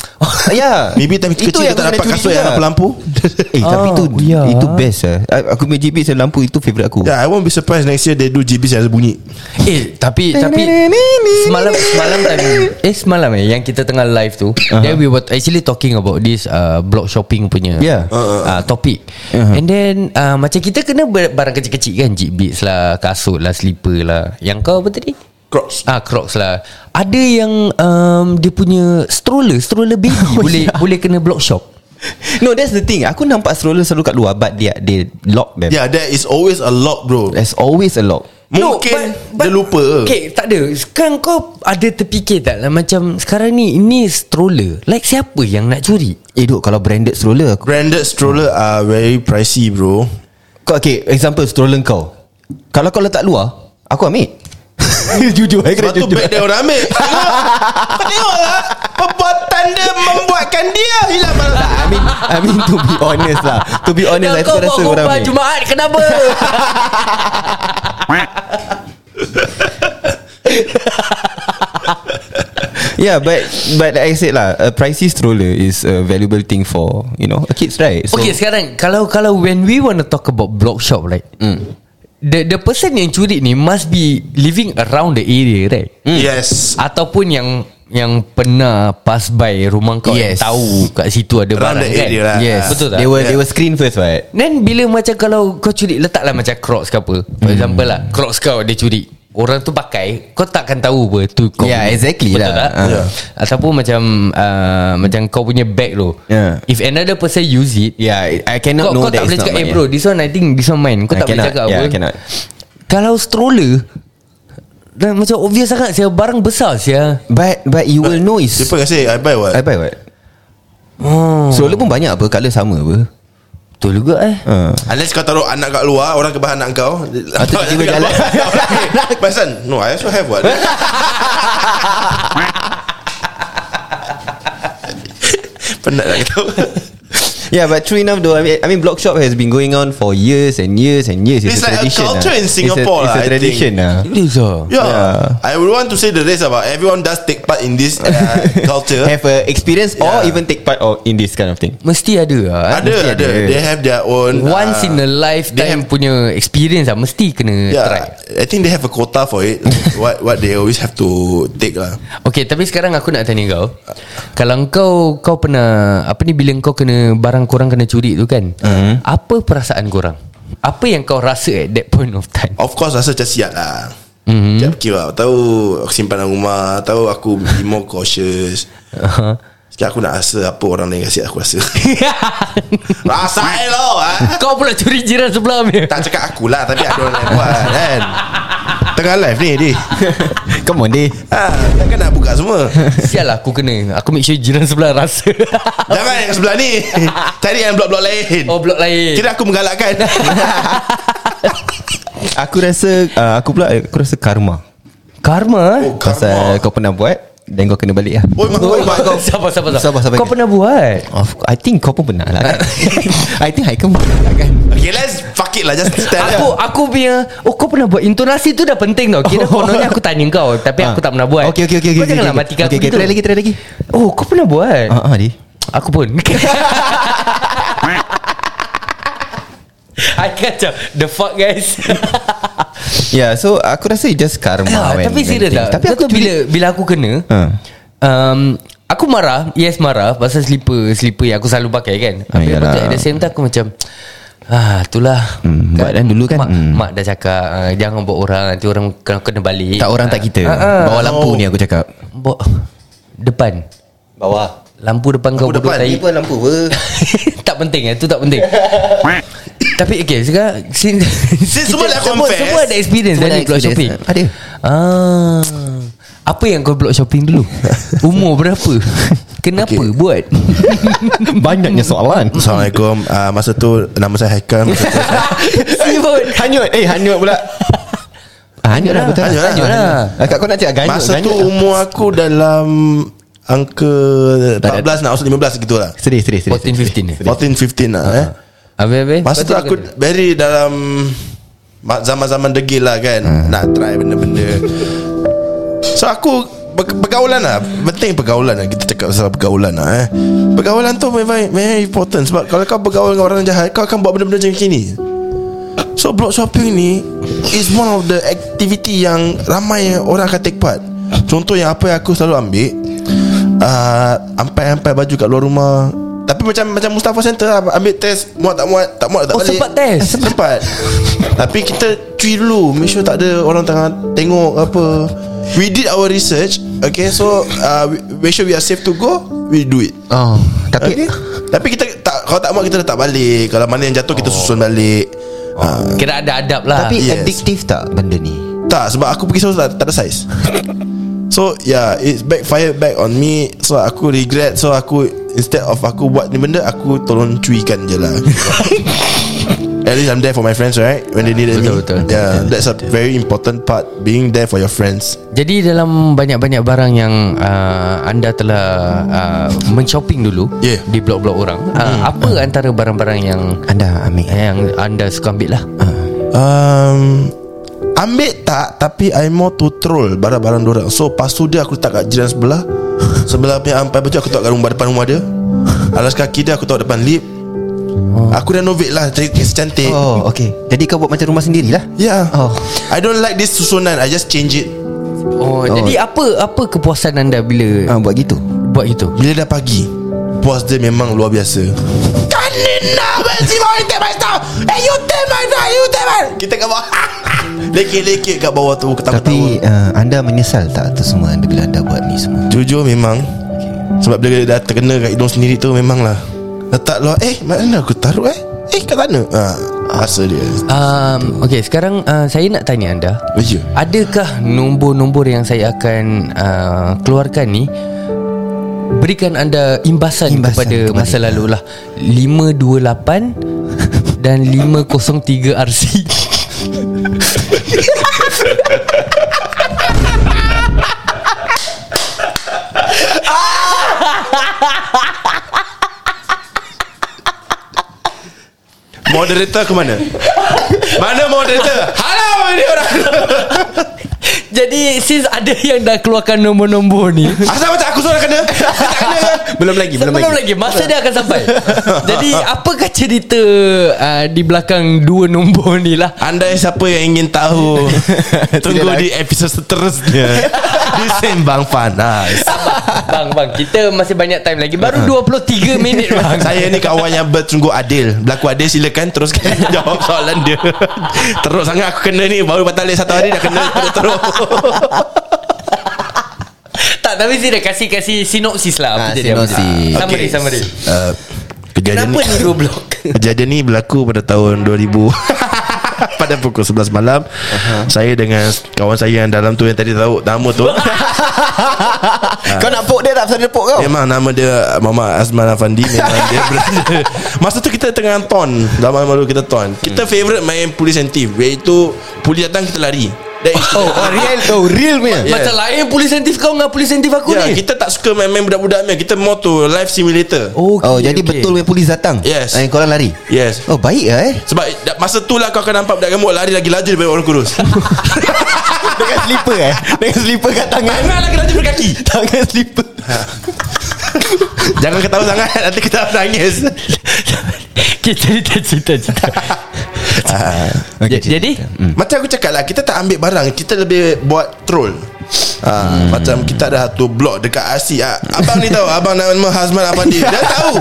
Speaker 4: Ya
Speaker 2: Maybe time kecil kita tak dapat kasut yang ada lampu
Speaker 4: lah. Eh tapi
Speaker 3: Ah,
Speaker 4: tu
Speaker 3: ya.
Speaker 4: Itu best lah Aku punya GB Saya lampu Itu favourite aku
Speaker 2: Yeah I won't be surprised Next year they do GBs yang ada bunyi
Speaker 3: Eh tapi tapi semalam semalam tadi eh semalam eh yang kita tengah live tu uh-huh. then we were actually talking about this uh, blog shopping punya
Speaker 4: Yeah.
Speaker 3: uh, topic uh-huh. and then uh, macam kita kena ber- barang kecil-kecil kan jeep beats lah kasut lah slipper lah yang kau apa tadi
Speaker 2: Crocs
Speaker 3: Ah Crocs lah Ada yang um, Dia punya Stroller Stroller baby oh, Boleh yeah. boleh kena blog shop
Speaker 4: No that's the thing Aku nampak stroller selalu kat luar But they, they lock them
Speaker 2: Yeah there is always a lot bro
Speaker 4: There's always a lock
Speaker 2: Mungkin dia lupa
Speaker 3: Okay tak ada Sekarang kau ada terfikir tak lah Macam sekarang ni Ini stroller Like siapa yang nak curi
Speaker 4: Eh duk kalau branded stroller aku,
Speaker 2: Branded stroller are very pricey bro
Speaker 4: kau, Okay example stroller kau Kalau kau letak luar Aku ambil Jujur I kena
Speaker 2: Lepas tu
Speaker 4: jujur
Speaker 2: beg dia orang ambil Tengok Kau Tengok lah Perbuatan dia Membuatkan dia Hilang barang
Speaker 4: I mean, I mean to be honest lah To be honest
Speaker 3: Dah
Speaker 4: Aku
Speaker 3: kau buat
Speaker 4: rasa orang
Speaker 3: khutbah
Speaker 4: ambil
Speaker 3: Jumaat kenapa?
Speaker 4: Yeah but But like I said lah A pricey stroller Is a valuable thing for You know a Kids right
Speaker 3: so, okay sekarang kalau kalau when we want to talk about blog shop right. Mm. The the person yang curi ni must be living around the area right?
Speaker 2: Yes
Speaker 3: Ataupun yang yang pernah pass by rumah kau yes.
Speaker 4: Yes.
Speaker 3: yang tahu kat situ ada
Speaker 2: Around
Speaker 3: barang
Speaker 2: the
Speaker 3: kan.
Speaker 2: area lah.
Speaker 3: Yes.
Speaker 2: Ah.
Speaker 3: Betul tak?
Speaker 4: They were
Speaker 2: Yeah.
Speaker 4: they were screened first right
Speaker 3: Then bila macam kalau kau curi letaklah macam Crocs ke apa. For example lah, Crocs kau dia curi. Orang tu pakai, kau takkan tahu apa tu kau. punya.
Speaker 4: Yeah, exactly
Speaker 3: Betul
Speaker 4: lah.
Speaker 3: Tak?
Speaker 2: Yeah.
Speaker 3: ah. Ataupun macam uh, macam kau punya bag tu.
Speaker 4: Yeah.
Speaker 3: If another person use it,
Speaker 4: Yeah I I
Speaker 3: kau,
Speaker 4: cannot Ya. know
Speaker 3: kau
Speaker 4: that
Speaker 3: tak boleh
Speaker 4: it's
Speaker 3: cakap
Speaker 4: not
Speaker 3: Eh
Speaker 4: mine.
Speaker 3: bro This one I think This one mine Kau
Speaker 4: I
Speaker 3: tak boleh
Speaker 4: cannot.
Speaker 3: cakap
Speaker 4: Yeah,
Speaker 3: apa
Speaker 4: I cannot.
Speaker 3: Kalau stroller dan macam obvious sangat Saya barang besar saya.
Speaker 4: But but you will know is
Speaker 2: Siapa kasi I buy what
Speaker 4: I buy what
Speaker 2: Hmm.
Speaker 4: oh. Stroller pun banyak apa Colour sama apa
Speaker 3: Betul juga eh
Speaker 4: uh.
Speaker 2: Unless kau taruh anak kat luar Orang kebah anak kau
Speaker 4: Atau Ah, tiba-tiba jalan.
Speaker 2: Pasan No I also have what Penat lah nak tahu
Speaker 4: Yeah but true enough though I mean, I mean block shop has been going on For years and years and years
Speaker 2: It's
Speaker 4: a
Speaker 2: like a
Speaker 4: tradition
Speaker 2: culture
Speaker 4: lah.
Speaker 2: in Singapore
Speaker 4: It's a,
Speaker 2: lah,
Speaker 4: it's
Speaker 2: I
Speaker 4: a tradition
Speaker 2: think.
Speaker 4: lah
Speaker 3: Ini sah
Speaker 2: Yeah.
Speaker 4: Yeah.
Speaker 2: I would want to say the rest about everyone does take part in this uh, culture.
Speaker 4: Have a experience Or
Speaker 2: Yeah.
Speaker 4: even take part of, In this kind of thing
Speaker 3: Mesti ada lah eh.
Speaker 2: ada,
Speaker 4: mesti
Speaker 2: ada.
Speaker 4: ada.
Speaker 2: They have their own
Speaker 3: Once
Speaker 2: uh,
Speaker 3: in a lifetime punya experience lah Mesti kena
Speaker 2: Yeah,
Speaker 3: try
Speaker 2: I think they have a quota for it. what what they always have to take lah.
Speaker 3: Okay tapi sekarang aku nak tanya kau Kalau kau Kau pernah Apa ni bila kau kena Barang korang kena curi tu kan Apa perasaan korang Apa yang kau rasa At that point of time
Speaker 2: Of course rasa macam siap lah.
Speaker 3: Mhm.
Speaker 2: Mm-hmm. Macam fikir lah. Tahu aku simpan dalam rumah. Tahu aku be more cautious.
Speaker 3: uh-huh.
Speaker 2: Sekarang aku nak rasa apa orang lain kasi aku rasa. rasa eh lo. Ha?
Speaker 3: Kau pula curi jiran sebelah punya
Speaker 2: Tak cakap akulah tapi ada orang lain buat kan. Tengah live ni dia.
Speaker 4: Come on deh
Speaker 2: Ha, takkan nak buka semua.
Speaker 3: Sial lah aku kena Aku make sure jiran sebelah rasa
Speaker 2: Jangan yang sebelah ni. Cari yang blok-blok lain.
Speaker 3: Oh blok lain
Speaker 2: Kira aku menggalakkan.
Speaker 4: Aku rasa uh, Aku pula Aku rasa karma
Speaker 3: Karma eh?
Speaker 2: Oh,
Speaker 4: Pasal kau pernah buat Dan kau kena balik lah
Speaker 2: Oi, mak oi, mak kau.
Speaker 3: Sabar sabar
Speaker 4: Sabar, sabar.
Speaker 3: Kau pernah buat
Speaker 4: Of, I think kau pun pernah lah kan I think Haikal pun pernah lah kan
Speaker 2: Okay, let's fuck it lah. Just tell
Speaker 3: Aku aku punya Oh kau pernah buat Intonasi tu dah penting tau Kira
Speaker 4: Oh. Ah.
Speaker 3: kononnya aku tanya kau Tapi aku tak pernah buat
Speaker 4: Okay okay okay
Speaker 3: Kau
Speaker 4: okay,
Speaker 3: janganlah
Speaker 4: okay,
Speaker 3: mati aku
Speaker 4: okay, okay,
Speaker 3: gitu
Speaker 4: Try lagi try lagi
Speaker 3: Oh kau pernah buat
Speaker 4: Ah ah di
Speaker 3: Aku pun Haikal macam The fuck guys
Speaker 4: Yeah so Aku rasa it's just karma
Speaker 3: Ah,
Speaker 4: when-
Speaker 3: Tapi
Speaker 4: when
Speaker 3: serius
Speaker 4: things-
Speaker 3: lah
Speaker 4: Tapi aku
Speaker 3: bila Bila aku kena
Speaker 4: Ha.
Speaker 3: um, Aku marah Yes marah Pasal slipper Slipper yang aku selalu pakai kan
Speaker 4: Ah,
Speaker 3: Tapi lepas tu At
Speaker 4: iyalah.
Speaker 3: the same time aku macam Ah, itulah
Speaker 4: Hmm, buat dan dulu kan,
Speaker 3: Mak,
Speaker 4: hmm.
Speaker 3: mak dah cakap ah, Jangan buat orang Nanti orang kena, kena balik Ah.
Speaker 4: Tak orang tak kita Ah, Bawa lampu ni aku cakap
Speaker 3: Bawa Depan
Speaker 4: Bawah
Speaker 3: Lampu depan kau bodoh
Speaker 2: depan,
Speaker 3: tai.
Speaker 4: Ni pun lampu apa
Speaker 3: tak penting eh, tu tak penting. Tapi okay sekarang since,
Speaker 2: Since semua dah
Speaker 3: semua,
Speaker 2: confess.
Speaker 3: semua ada experience
Speaker 4: Semua
Speaker 3: dari
Speaker 4: dah
Speaker 3: block shopping.
Speaker 4: experience. Ada.
Speaker 3: Ah. Apa yang kau block shopping dulu? Umur berapa? Kenapa okay. buat?
Speaker 4: Banyaknya soalan
Speaker 2: Assalamualaikum uh, Masa tu Nama saya Haikal Masa tu
Speaker 3: Sibut.
Speaker 4: Hanyut Eh hanyut pula Ah, Hanyut lah betul
Speaker 2: Hanyut lah.
Speaker 4: Hanyut lah Kau nak cakap ganyut
Speaker 2: Masa tu
Speaker 4: ganyut lah.
Speaker 2: umur aku dalam Angka 14 nak Maksud 15 gitu lah
Speaker 4: Sedih sedih sedih
Speaker 3: 14, 15 eh.
Speaker 2: 14, 15 lah eh
Speaker 3: Habis habis.
Speaker 2: Masa tu aku Very dalam ma- Zaman-zaman degil lah kan Nak try benda-benda So aku ber- Pergaulan lah Penting pergaulan lah Kita cakap pasal pergaulan lah eh Pergaulan tu very, very important Sebab kalau kau bergaul dengan orang jahat Kau akan buat benda-benda macam ni So block shopping ni Is one of the activity yang Ramai orang akan take part Contoh yang apa yang aku selalu ambil uh, Ampai-ampai baju kat luar rumah Tapi macam macam Mustafa Center lah Ambil test Muat tak muat Tak muat tak
Speaker 3: Oh,
Speaker 2: balik
Speaker 3: sempat test?
Speaker 2: Sempat Tapi kita cuci dulu Make sure tak ada orang tengah Tengok apa We did our research Okay so uh, we- Make sure we are safe to go We do it
Speaker 4: Oh Tapi
Speaker 2: Okay Tapi kita tak Kalau tak muat kita letak balik Kalau mana yang jatuh kita susun balik Ah.
Speaker 3: Kira ada adab lah.
Speaker 4: Tapi
Speaker 2: Yes.
Speaker 4: addictive tak benda ni
Speaker 2: Tak sebab aku pergi sana tak, tak ada saiz So yeah It's backfire back on me So aku regret So aku Instead of aku buat ni benda Aku tolong cuikan je lah At least I'm there for my friends right When they needed me
Speaker 3: Betul, betul.
Speaker 2: Yeah That's a very important part Being there for your friends
Speaker 3: Jadi dalam banyak-banyak barang yang uh, anda telah uh, menshopping dulu
Speaker 2: Yeah.
Speaker 3: di blok-blok orang, uh, apa antara barang-barang yang
Speaker 4: Anda ambil
Speaker 3: Eh, yang anda suka ambil lah?
Speaker 2: um, Ambil tak Tapi I more to troll Barang-barang dorang So lepas tu dia Aku letak kat jiran sebelah Sebelah punya ampai baju Aku letak kat rumah Depan rumah dia Alas kaki dia Aku letak depan lip Aku renovate lah Cari kes cantik
Speaker 4: Oh okay Jadi kau buat macam rumah sendiri lah
Speaker 2: Yeah
Speaker 4: Oh.
Speaker 2: I don't like this susunan I just change it
Speaker 3: Oh, oh, jadi apa apa kepuasan anda bila uh,
Speaker 4: Ah, Buat gitu
Speaker 3: buat itu?
Speaker 2: Bila dah pagi Puas dia memang luar biasa Kan Kanina Bensi mau you take my stuff Hey you take my stuff You take my Kita kat bawah Lekit-lekit kat bawah tu Ketawa-ketawa
Speaker 4: Tapi uh, anda menyesal tak tu semua anda bila anda buat ni semua?
Speaker 2: Jujur memang Sebab dia dah terkena kat hidung sendiri tu Memang lah Letak luar Eh mana aku taruh eh Eh kat sana ha, Rasa dia
Speaker 3: Um, okay, sekarang uh, saya nak tanya anda.
Speaker 2: Ya.
Speaker 3: Adakah nombor-nombor yang saya akan uh, keluarkan ni berikan anda imbasan,
Speaker 4: Imbasan
Speaker 3: kepada,
Speaker 4: kepada-
Speaker 3: masa lalu lah 528 dan 503 RC.
Speaker 2: Moderator ke mana? mana moderator? Ha, Halau ni orang
Speaker 3: Jadi since ada yang dah keluarkan nombor-nombor ni
Speaker 2: Asal macam aku seorang kena? Tak kena kan? Belum lagi
Speaker 3: Belum, belum lagi. Masa dia akan sampai Jadi apakah cerita uh, Di belakang dua nombor ni lah
Speaker 2: Anda siapa yang ingin tahu Tunggu
Speaker 4: Tidak
Speaker 2: di episod seterusnya Di Sembang Panas
Speaker 3: Bang bang Kita masih banyak time lagi Baru 23 minit bang
Speaker 2: Saya ni kawan yang bersungguh adil Berlaku adil silakan Teruskan jawab soalan dia Teruk sangat aku kena ni Baru batalin satu hari dah kena teruk-teruk
Speaker 3: Tak tapi sini dah kasih Kasih sinopsis lah apa
Speaker 4: Ah,
Speaker 3: jadi apa.
Speaker 4: sinopsis.
Speaker 3: Ah, Summary summary
Speaker 2: uh, Kejadian
Speaker 3: Kenapa ni dua blok
Speaker 2: Kejadian ni berlaku pada tahun 2000 Pada pukul 11 malam uh-huh. Saya dengan kawan saya yang dalam tu Yang tadi tahu nama tu
Speaker 4: Kau nak pok dia tak pasal dia pok kau?
Speaker 2: Memang nama dia Mama Azman Afandi Memang dia berada Masa tu kita tengah ton Zaman malu kita ton Kita
Speaker 3: Hmm.
Speaker 2: favourite main polis and thief Iaitu Polis datang kita lari That is
Speaker 4: Oh, oh real oh real punya.
Speaker 2: Yeah.
Speaker 3: Macam lain polis sentif kau Dengan polis sentif aku
Speaker 2: Ya,
Speaker 3: ni
Speaker 2: kita tak suka main-main budak-budak ni. Kita more to life simulator.
Speaker 3: Oh,
Speaker 4: Oh jadi betul punya polis datang.
Speaker 2: Yes.
Speaker 4: Eh, korang lari.
Speaker 2: Yes.
Speaker 4: Oh baik lah eh.
Speaker 2: Sebab da- masa tu lah kau akan nampak budak gemuk lari lagi laju daripada orang kurus.
Speaker 4: Dengan slipper eh. Dengan slipper kat tangan.
Speaker 2: Tangan lagi laju berkaki.
Speaker 4: Tangan slipper.
Speaker 2: Jangan ketawa sangat nanti kita nangis.
Speaker 3: Kita cerita cerita cerita Okay, Jadi
Speaker 2: Macam aku cakap lah Kita tak ambil barang Kita lebih buat troll ha, hmm. Macam kita ada satu blog Dekat RC ha, Abang ni tahu Abang nama Hazman Abang dia Dia tahu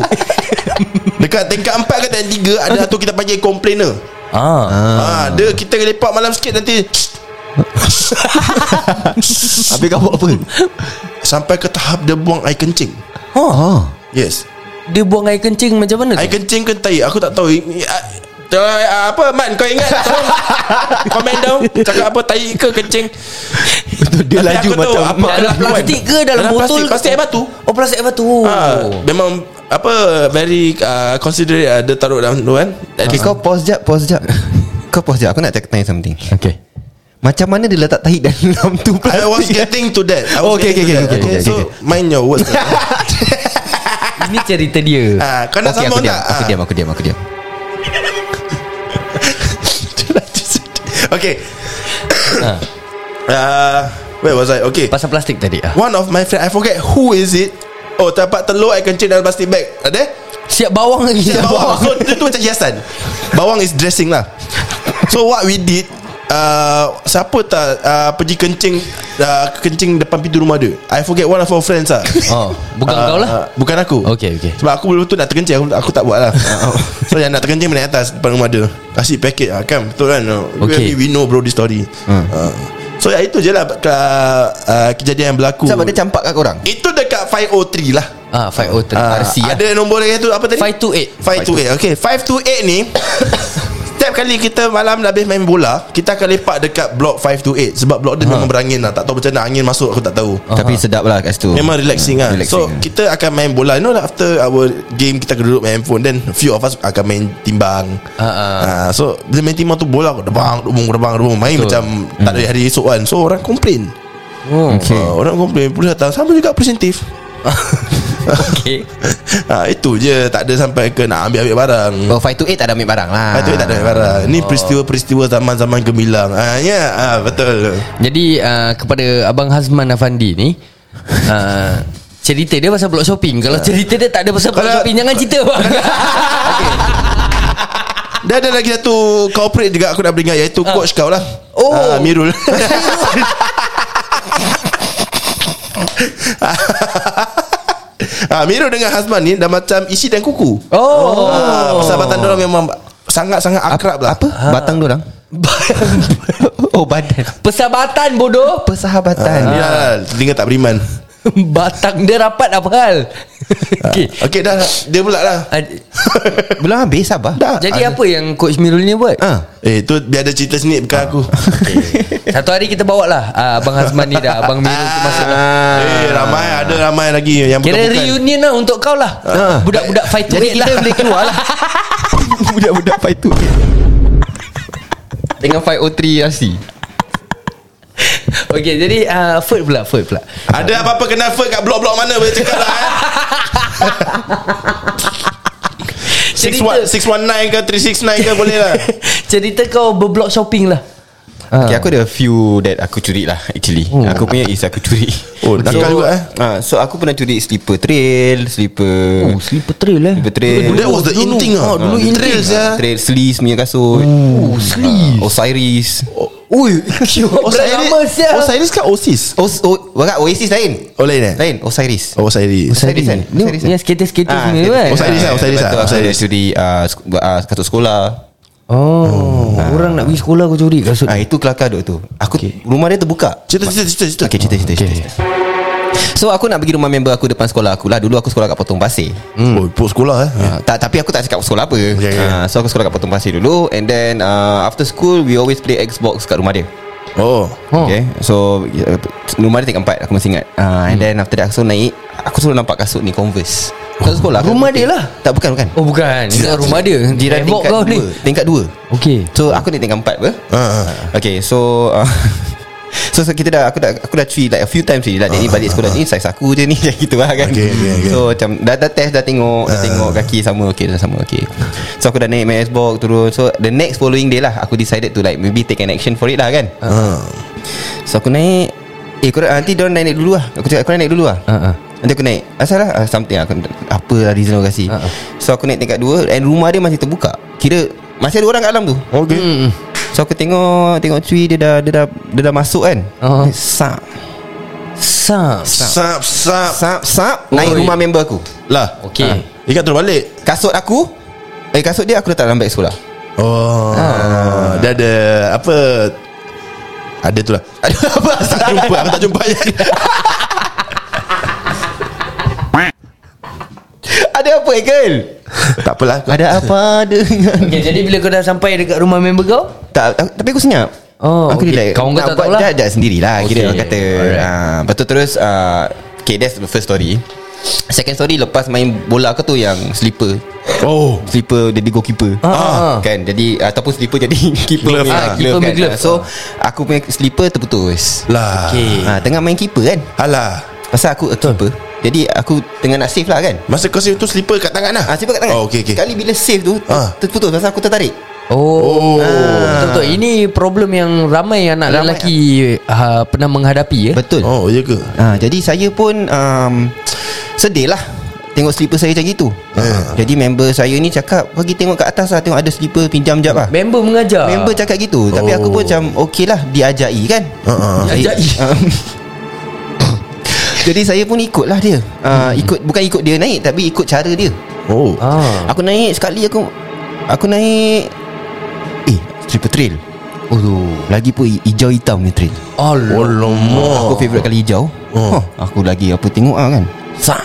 Speaker 2: Dekat tingkat 4 ke tingkat 3 Ada satu kita panggil complainer
Speaker 3: ah,
Speaker 2: ha, Dia kita lepak malam sikit nanti
Speaker 4: Habis kau buat apa
Speaker 2: Sampai ke tahap dia buang air kencing
Speaker 4: oh.
Speaker 3: Ah.
Speaker 2: Yes
Speaker 3: Dia buang air kencing macam mana
Speaker 2: Air
Speaker 3: tu?
Speaker 2: kencing ke tai Aku tak tahu I- I- Tolong, ah, apa Man kau ingat Tolong Komen down Cakap apa Tai ke kencing
Speaker 4: Betul dia
Speaker 2: Tapi
Speaker 4: laju
Speaker 2: aku tahu,
Speaker 4: macam
Speaker 2: apa-
Speaker 4: mak
Speaker 3: Dalam
Speaker 2: Dalam
Speaker 3: plastik
Speaker 2: buat.
Speaker 3: ke Dalam,
Speaker 2: Dalam
Speaker 3: botol
Speaker 2: plastik,
Speaker 3: ke?
Speaker 2: plastik air batu.
Speaker 3: Oh plastik air batu
Speaker 2: Ah, memang apa very uh, considerate uh, dia taruh dalam tu kan.
Speaker 4: Okay kau pause jap Pause jap Kau pause jap Aku nak tanya something
Speaker 3: Okay
Speaker 4: Macam mana dia letak tahi dalam tu
Speaker 2: I was
Speaker 4: plastik
Speaker 2: getting to that. I was
Speaker 4: Oh, okay,
Speaker 2: getting to
Speaker 4: okay, okay,
Speaker 2: that.
Speaker 4: okay, okay,
Speaker 2: So mind your words.
Speaker 3: Ini cerita dia
Speaker 2: Ah, kau nak
Speaker 4: Okay aku
Speaker 2: sambung tak?
Speaker 4: diam Aku
Speaker 2: Ah.
Speaker 4: diam Aku diam Aku diam
Speaker 2: okay. Ah. Uh, where was I? Okay.
Speaker 3: Pasal plastik tadi ah.
Speaker 2: One of my friend I forget who is it. Oh, terdapat telur air kencing dalam plastic bag. Ada?
Speaker 3: Siap bawang lagi
Speaker 2: Dia bawang. So, dia tu macam hiasan. Bawang is dressing lah. So what we did Uh, siapa tak uh, pergi kencing uh, kencing depan pintu rumah dia I forget one of our friends lah
Speaker 3: Oh, bukan
Speaker 2: Ah,
Speaker 3: kau lah.
Speaker 2: ah, Bukan aku
Speaker 3: Okey, okey.
Speaker 2: Sebab aku belum tu nak terkencing Aku, aku tak buat lah So yang nak terkencing Mana atas depan rumah dia Kasih paket lah kan Betul kan
Speaker 3: Okey.
Speaker 2: okay. we, we know bro this story
Speaker 3: Hmm.
Speaker 2: Ah. So ya, itu je lah uh, uh, Kejadian yang berlaku
Speaker 4: Sebab dia campak kat korang
Speaker 2: Itu dekat 503 lah
Speaker 3: Ah, 503
Speaker 2: Ah,
Speaker 3: RC lah.
Speaker 2: Ada nombor lagi tu Apa tadi?
Speaker 3: 528.
Speaker 2: 528 Okay 528 ni Setiap kali kita malam habis main bola Kita akan lepak dekat blok 528 Sebab blok dia memang berangin lah Tak tahu macam mana angin masuk Aku tak tahu
Speaker 4: Tapi sedap lah kat situ
Speaker 2: Memang relaxing lah
Speaker 4: Relaxing.
Speaker 2: So kita akan main bola You know lah after our game Kita akan duduk main handphone Then few of us akan main timbang
Speaker 3: Ah, ah.
Speaker 2: Ah, So bila main timbang tu bola Debang, debung, debang, debung Main
Speaker 3: Betul.
Speaker 2: macam tak ada hari esok kan So orang komplain
Speaker 3: Oh,
Speaker 2: okay. Orang komplain Polis datang Sama juga presentif
Speaker 3: okay.
Speaker 2: ha, Itu je Tak ada sampai ke nak ambil-ambil barang
Speaker 4: Oh 528 tak ada ambil barang lah
Speaker 2: Ah, tu tak ada ambil barang. Ni peristiwa-peristiwa zaman-zaman gemilang. Ah ya, ah betul.
Speaker 3: Jadi uh, kepada Abang Hazman Afandi ni uh, Cerita dia pasal blok shopping Kalau cerita dia tak ada pasal blok
Speaker 2: Kalau-
Speaker 3: shopping Jangan cerita bang
Speaker 2: Dan ada lagi satu corporate juga aku nak beringat iaitu
Speaker 3: Ah.
Speaker 2: coach kau lah.
Speaker 3: Oh.
Speaker 2: Ah, Mirul. ah, Mirul dengan Hazman ni dah macam isi dan kuku.
Speaker 3: Oh,
Speaker 2: Ah, persahabatan dia memang sangat-sangat akrab lah.
Speaker 4: Apa? Batang dia orang Oh badan
Speaker 3: Persahabatan bodoh
Speaker 2: Ah, ni
Speaker 4: Persahabatan
Speaker 2: lah, telinga tak beriman.
Speaker 3: Batang dia rapat apa hal Okay
Speaker 2: Okey dah dia pula lah.
Speaker 3: Ad-
Speaker 4: Belum habis sabar
Speaker 2: Dah.
Speaker 3: Jadi
Speaker 2: Ada-
Speaker 3: apa yang Coach Mirul ni buat
Speaker 4: Ah.
Speaker 2: Eh tu dia ada cerita sendiri bukan aku.
Speaker 3: Satu hari kita bawa lah uh, Abang Hazman ni dah Abang Mirul tu masuk lah
Speaker 2: Ah. Eh ramai ada ramai lagi yang
Speaker 3: Kira
Speaker 2: bukan-bukan.
Speaker 3: reunion lah untuk kau lah
Speaker 4: Ah.
Speaker 3: Budak-budak fight to
Speaker 4: Jadi
Speaker 3: eight
Speaker 4: kita
Speaker 3: lah
Speaker 4: boleh keluar lah Budak-budak fight tu Dengan 503 RC
Speaker 3: Okay jadi uh, Food pula Food pula
Speaker 2: Ada apa-apa kena fur kat blok-blok mana boleh cakap lah eh. Six
Speaker 3: Cerita-
Speaker 2: one- 619 ke 369 ke boleh lah
Speaker 3: Cerita kau berblok shopping lah
Speaker 2: Ah.
Speaker 4: Okay aku ada few That aku curi lah actually Aku punya is aku curi
Speaker 2: Hmm. Oh, nakal juga, eh?
Speaker 4: ah, So aku pernah curi Sleeper trail Sleeper
Speaker 3: Sleeper trail eh
Speaker 4: Sleeper trail
Speaker 2: Oh, That was the in thing ah. Dulu in trail
Speaker 4: Ah,
Speaker 2: saya
Speaker 4: Trail Sleece punya kasut Oh Sleece Osiris
Speaker 3: Ui Berat lama siap
Speaker 2: Oh, Osiris ke Osis?
Speaker 4: Os, o, Oh, Bukan Oasis lain
Speaker 2: Oh lain eh?
Speaker 4: Lain Osiris
Speaker 2: Osiris
Speaker 4: Osiris Ah, kan
Speaker 3: Ni yang skater-skater semua kan
Speaker 2: Osiris lah, Osiris lah,
Speaker 4: Lepas tu aku
Speaker 2: Osiris.
Speaker 4: dah curi ah, sek- ah, Kasut sekolah
Speaker 3: Oh Orang nak pergi sekolah kau curi kasut
Speaker 4: Ah itu kelakar duk tu. Aku okay. rumah dia terbuka.
Speaker 2: Cerita cerita cerita cerita
Speaker 4: Okey cerita cerita cerita. So aku nak pergi rumah member aku depan sekolah aku lah. Dulu aku sekolah kat Potong Pasir.
Speaker 2: Oh puk sekolah eh
Speaker 3: Ya.
Speaker 4: Ah, tak tapi aku tak cakap sekolah apa.
Speaker 2: Okay, okay.
Speaker 4: Ah, so aku sekolah kat Potong Pasir dulu and then ah, after school we always play Xbox kat rumah dia.
Speaker 2: Oh
Speaker 3: Oh.
Speaker 4: Okay So uh, Rumah dia tingkat empat Aku masih ingat uh,
Speaker 3: Hmm.
Speaker 4: And then after that Aku selalu naik Aku selalu nampak kasut ni Converse Kasut sekolah
Speaker 3: Oh.
Speaker 4: aku
Speaker 3: Rumah dia
Speaker 4: putih.
Speaker 3: lah.
Speaker 4: Tak bukan bukan
Speaker 3: Oh bukan Ini kat rumah dia
Speaker 4: Jiran
Speaker 3: Havoc
Speaker 4: tingkat
Speaker 3: kau
Speaker 4: dua
Speaker 3: ni
Speaker 4: Tingkat dua
Speaker 3: Okay
Speaker 4: So aku ni tingkat empat apa
Speaker 2: Ah, ah.
Speaker 4: Okay so uh, So, so kita dah aku dah aku dah try like a few times ni lah dia ni balik sekolah ni saiz aku je ni macam gitu lah
Speaker 2: Ah,
Speaker 4: kan.
Speaker 2: Okay, okay, Ah. okay.
Speaker 4: So macam dah, dah test dah tengok dah tengok kaki sama okay dah sama okay. So aku dah naik main Xbox turun. So the next following day lah aku decided to like maybe take an action for it lah kan.
Speaker 2: Ah.
Speaker 4: So aku naik Eh korang nanti diorang naik, naik dulu lah Aku cakap korang naik dulu lah
Speaker 2: Ah,
Speaker 3: Ha, ha.
Speaker 4: Nanti aku naik Asal lah uh, Something lah Aku- Apa lah reason aku kasi
Speaker 3: Ha, ha.
Speaker 4: So aku naik tingkat 2 And rumah dia masih terbuka Kira Masih ada orang kat dalam tu
Speaker 2: Okay hmm.
Speaker 4: So aku tengok Tengok cuy dia dah Dia dah, dia dah masuk kan
Speaker 3: Ah.
Speaker 4: Dia Sap
Speaker 3: Sam
Speaker 2: Sap sap
Speaker 4: Sap Sap
Speaker 3: Oi.
Speaker 4: Naik rumah member aku
Speaker 2: Lah ha.
Speaker 3: Okay.
Speaker 2: Ikat terus balik
Speaker 4: Kasut aku Eh kasut dia aku letak dalam beg sekolah
Speaker 2: Oh ha.
Speaker 3: Ah.
Speaker 2: Dia ada Apa Ada tu lah Ada apa Aku tak jumpa Aku tak jumpa ayat dia.
Speaker 4: Ada apa Ekel?
Speaker 2: Tak apalah aku-
Speaker 4: Ada apa dengan
Speaker 3: okay, Jadi bila kau dah sampai Dekat rumah member kau
Speaker 4: Tak, aku, tapi aku senyap.
Speaker 3: Oh, okay.
Speaker 4: aku relax.
Speaker 3: Kawan kau
Speaker 4: Nak
Speaker 3: tak
Speaker 4: buat
Speaker 3: tahu lah.
Speaker 4: jahat-jahat sendirilah okay. kira
Speaker 3: Okay.
Speaker 4: orang kata.
Speaker 3: Alright.
Speaker 4: Ah, lepas tu terus ah, okay, that's the first story. Second story lepas main bola aku tu yang slipper.
Speaker 2: Oh
Speaker 4: Slipper jadi goalkeeper.
Speaker 3: Ah.
Speaker 4: Kan jadi ataupun slipper jadi keeper.
Speaker 2: Glove,
Speaker 4: punya kan.
Speaker 2: ah,
Speaker 3: keeper punya glove.
Speaker 4: So aku punya slipper terputus.
Speaker 2: Lah okay.
Speaker 3: Okay
Speaker 4: Ah, tengah main keeper kan.
Speaker 2: Alah
Speaker 4: Pasal aku a keeper. Jadi aku tengah nak save lah kan.
Speaker 2: Masa kau save tu slipper kat tangan lah
Speaker 4: Ah, save kat tangan.
Speaker 2: Oh okay, okay.
Speaker 4: Sekali bila save tu
Speaker 2: Ah.
Speaker 4: terputus pasal aku tertarik.
Speaker 3: Oh, ah.
Speaker 2: Oh.
Speaker 3: Betul-betul Ini problem yang ramai anak ramai
Speaker 4: Ramai-
Speaker 3: lelaki ha, Pernah menghadapi eh?
Speaker 4: Betul.
Speaker 2: Oh ya ke
Speaker 4: Ha, jadi saya pun um, sedih lah tengok slipper saya macam gitu. Ha. Jadi member saya ni cakap pergi tengok kat atas lah tengok ada slipper pinjam jap lah.
Speaker 3: Member mengajar
Speaker 4: Member cakap gitu oh. Tapi aku pun macam Okey lah Diajai kan
Speaker 2: Ha, ha.
Speaker 4: Saya-
Speaker 3: Diajai.
Speaker 4: Um, Jadi saya pun ikut lah dia uh, ikut Bukan ikut dia naik Tapi ikut cara dia
Speaker 2: Oh
Speaker 3: ah.
Speaker 4: Aku naik sekali aku Aku naik Eh Slipper trail Oh tu Lagi pun hijau hitam ni trail
Speaker 2: Oh
Speaker 3: Allah
Speaker 2: lama
Speaker 4: Aku favourite kali hijau
Speaker 2: Oh.
Speaker 4: huh, Aku lagi apa tengok ah kan Sah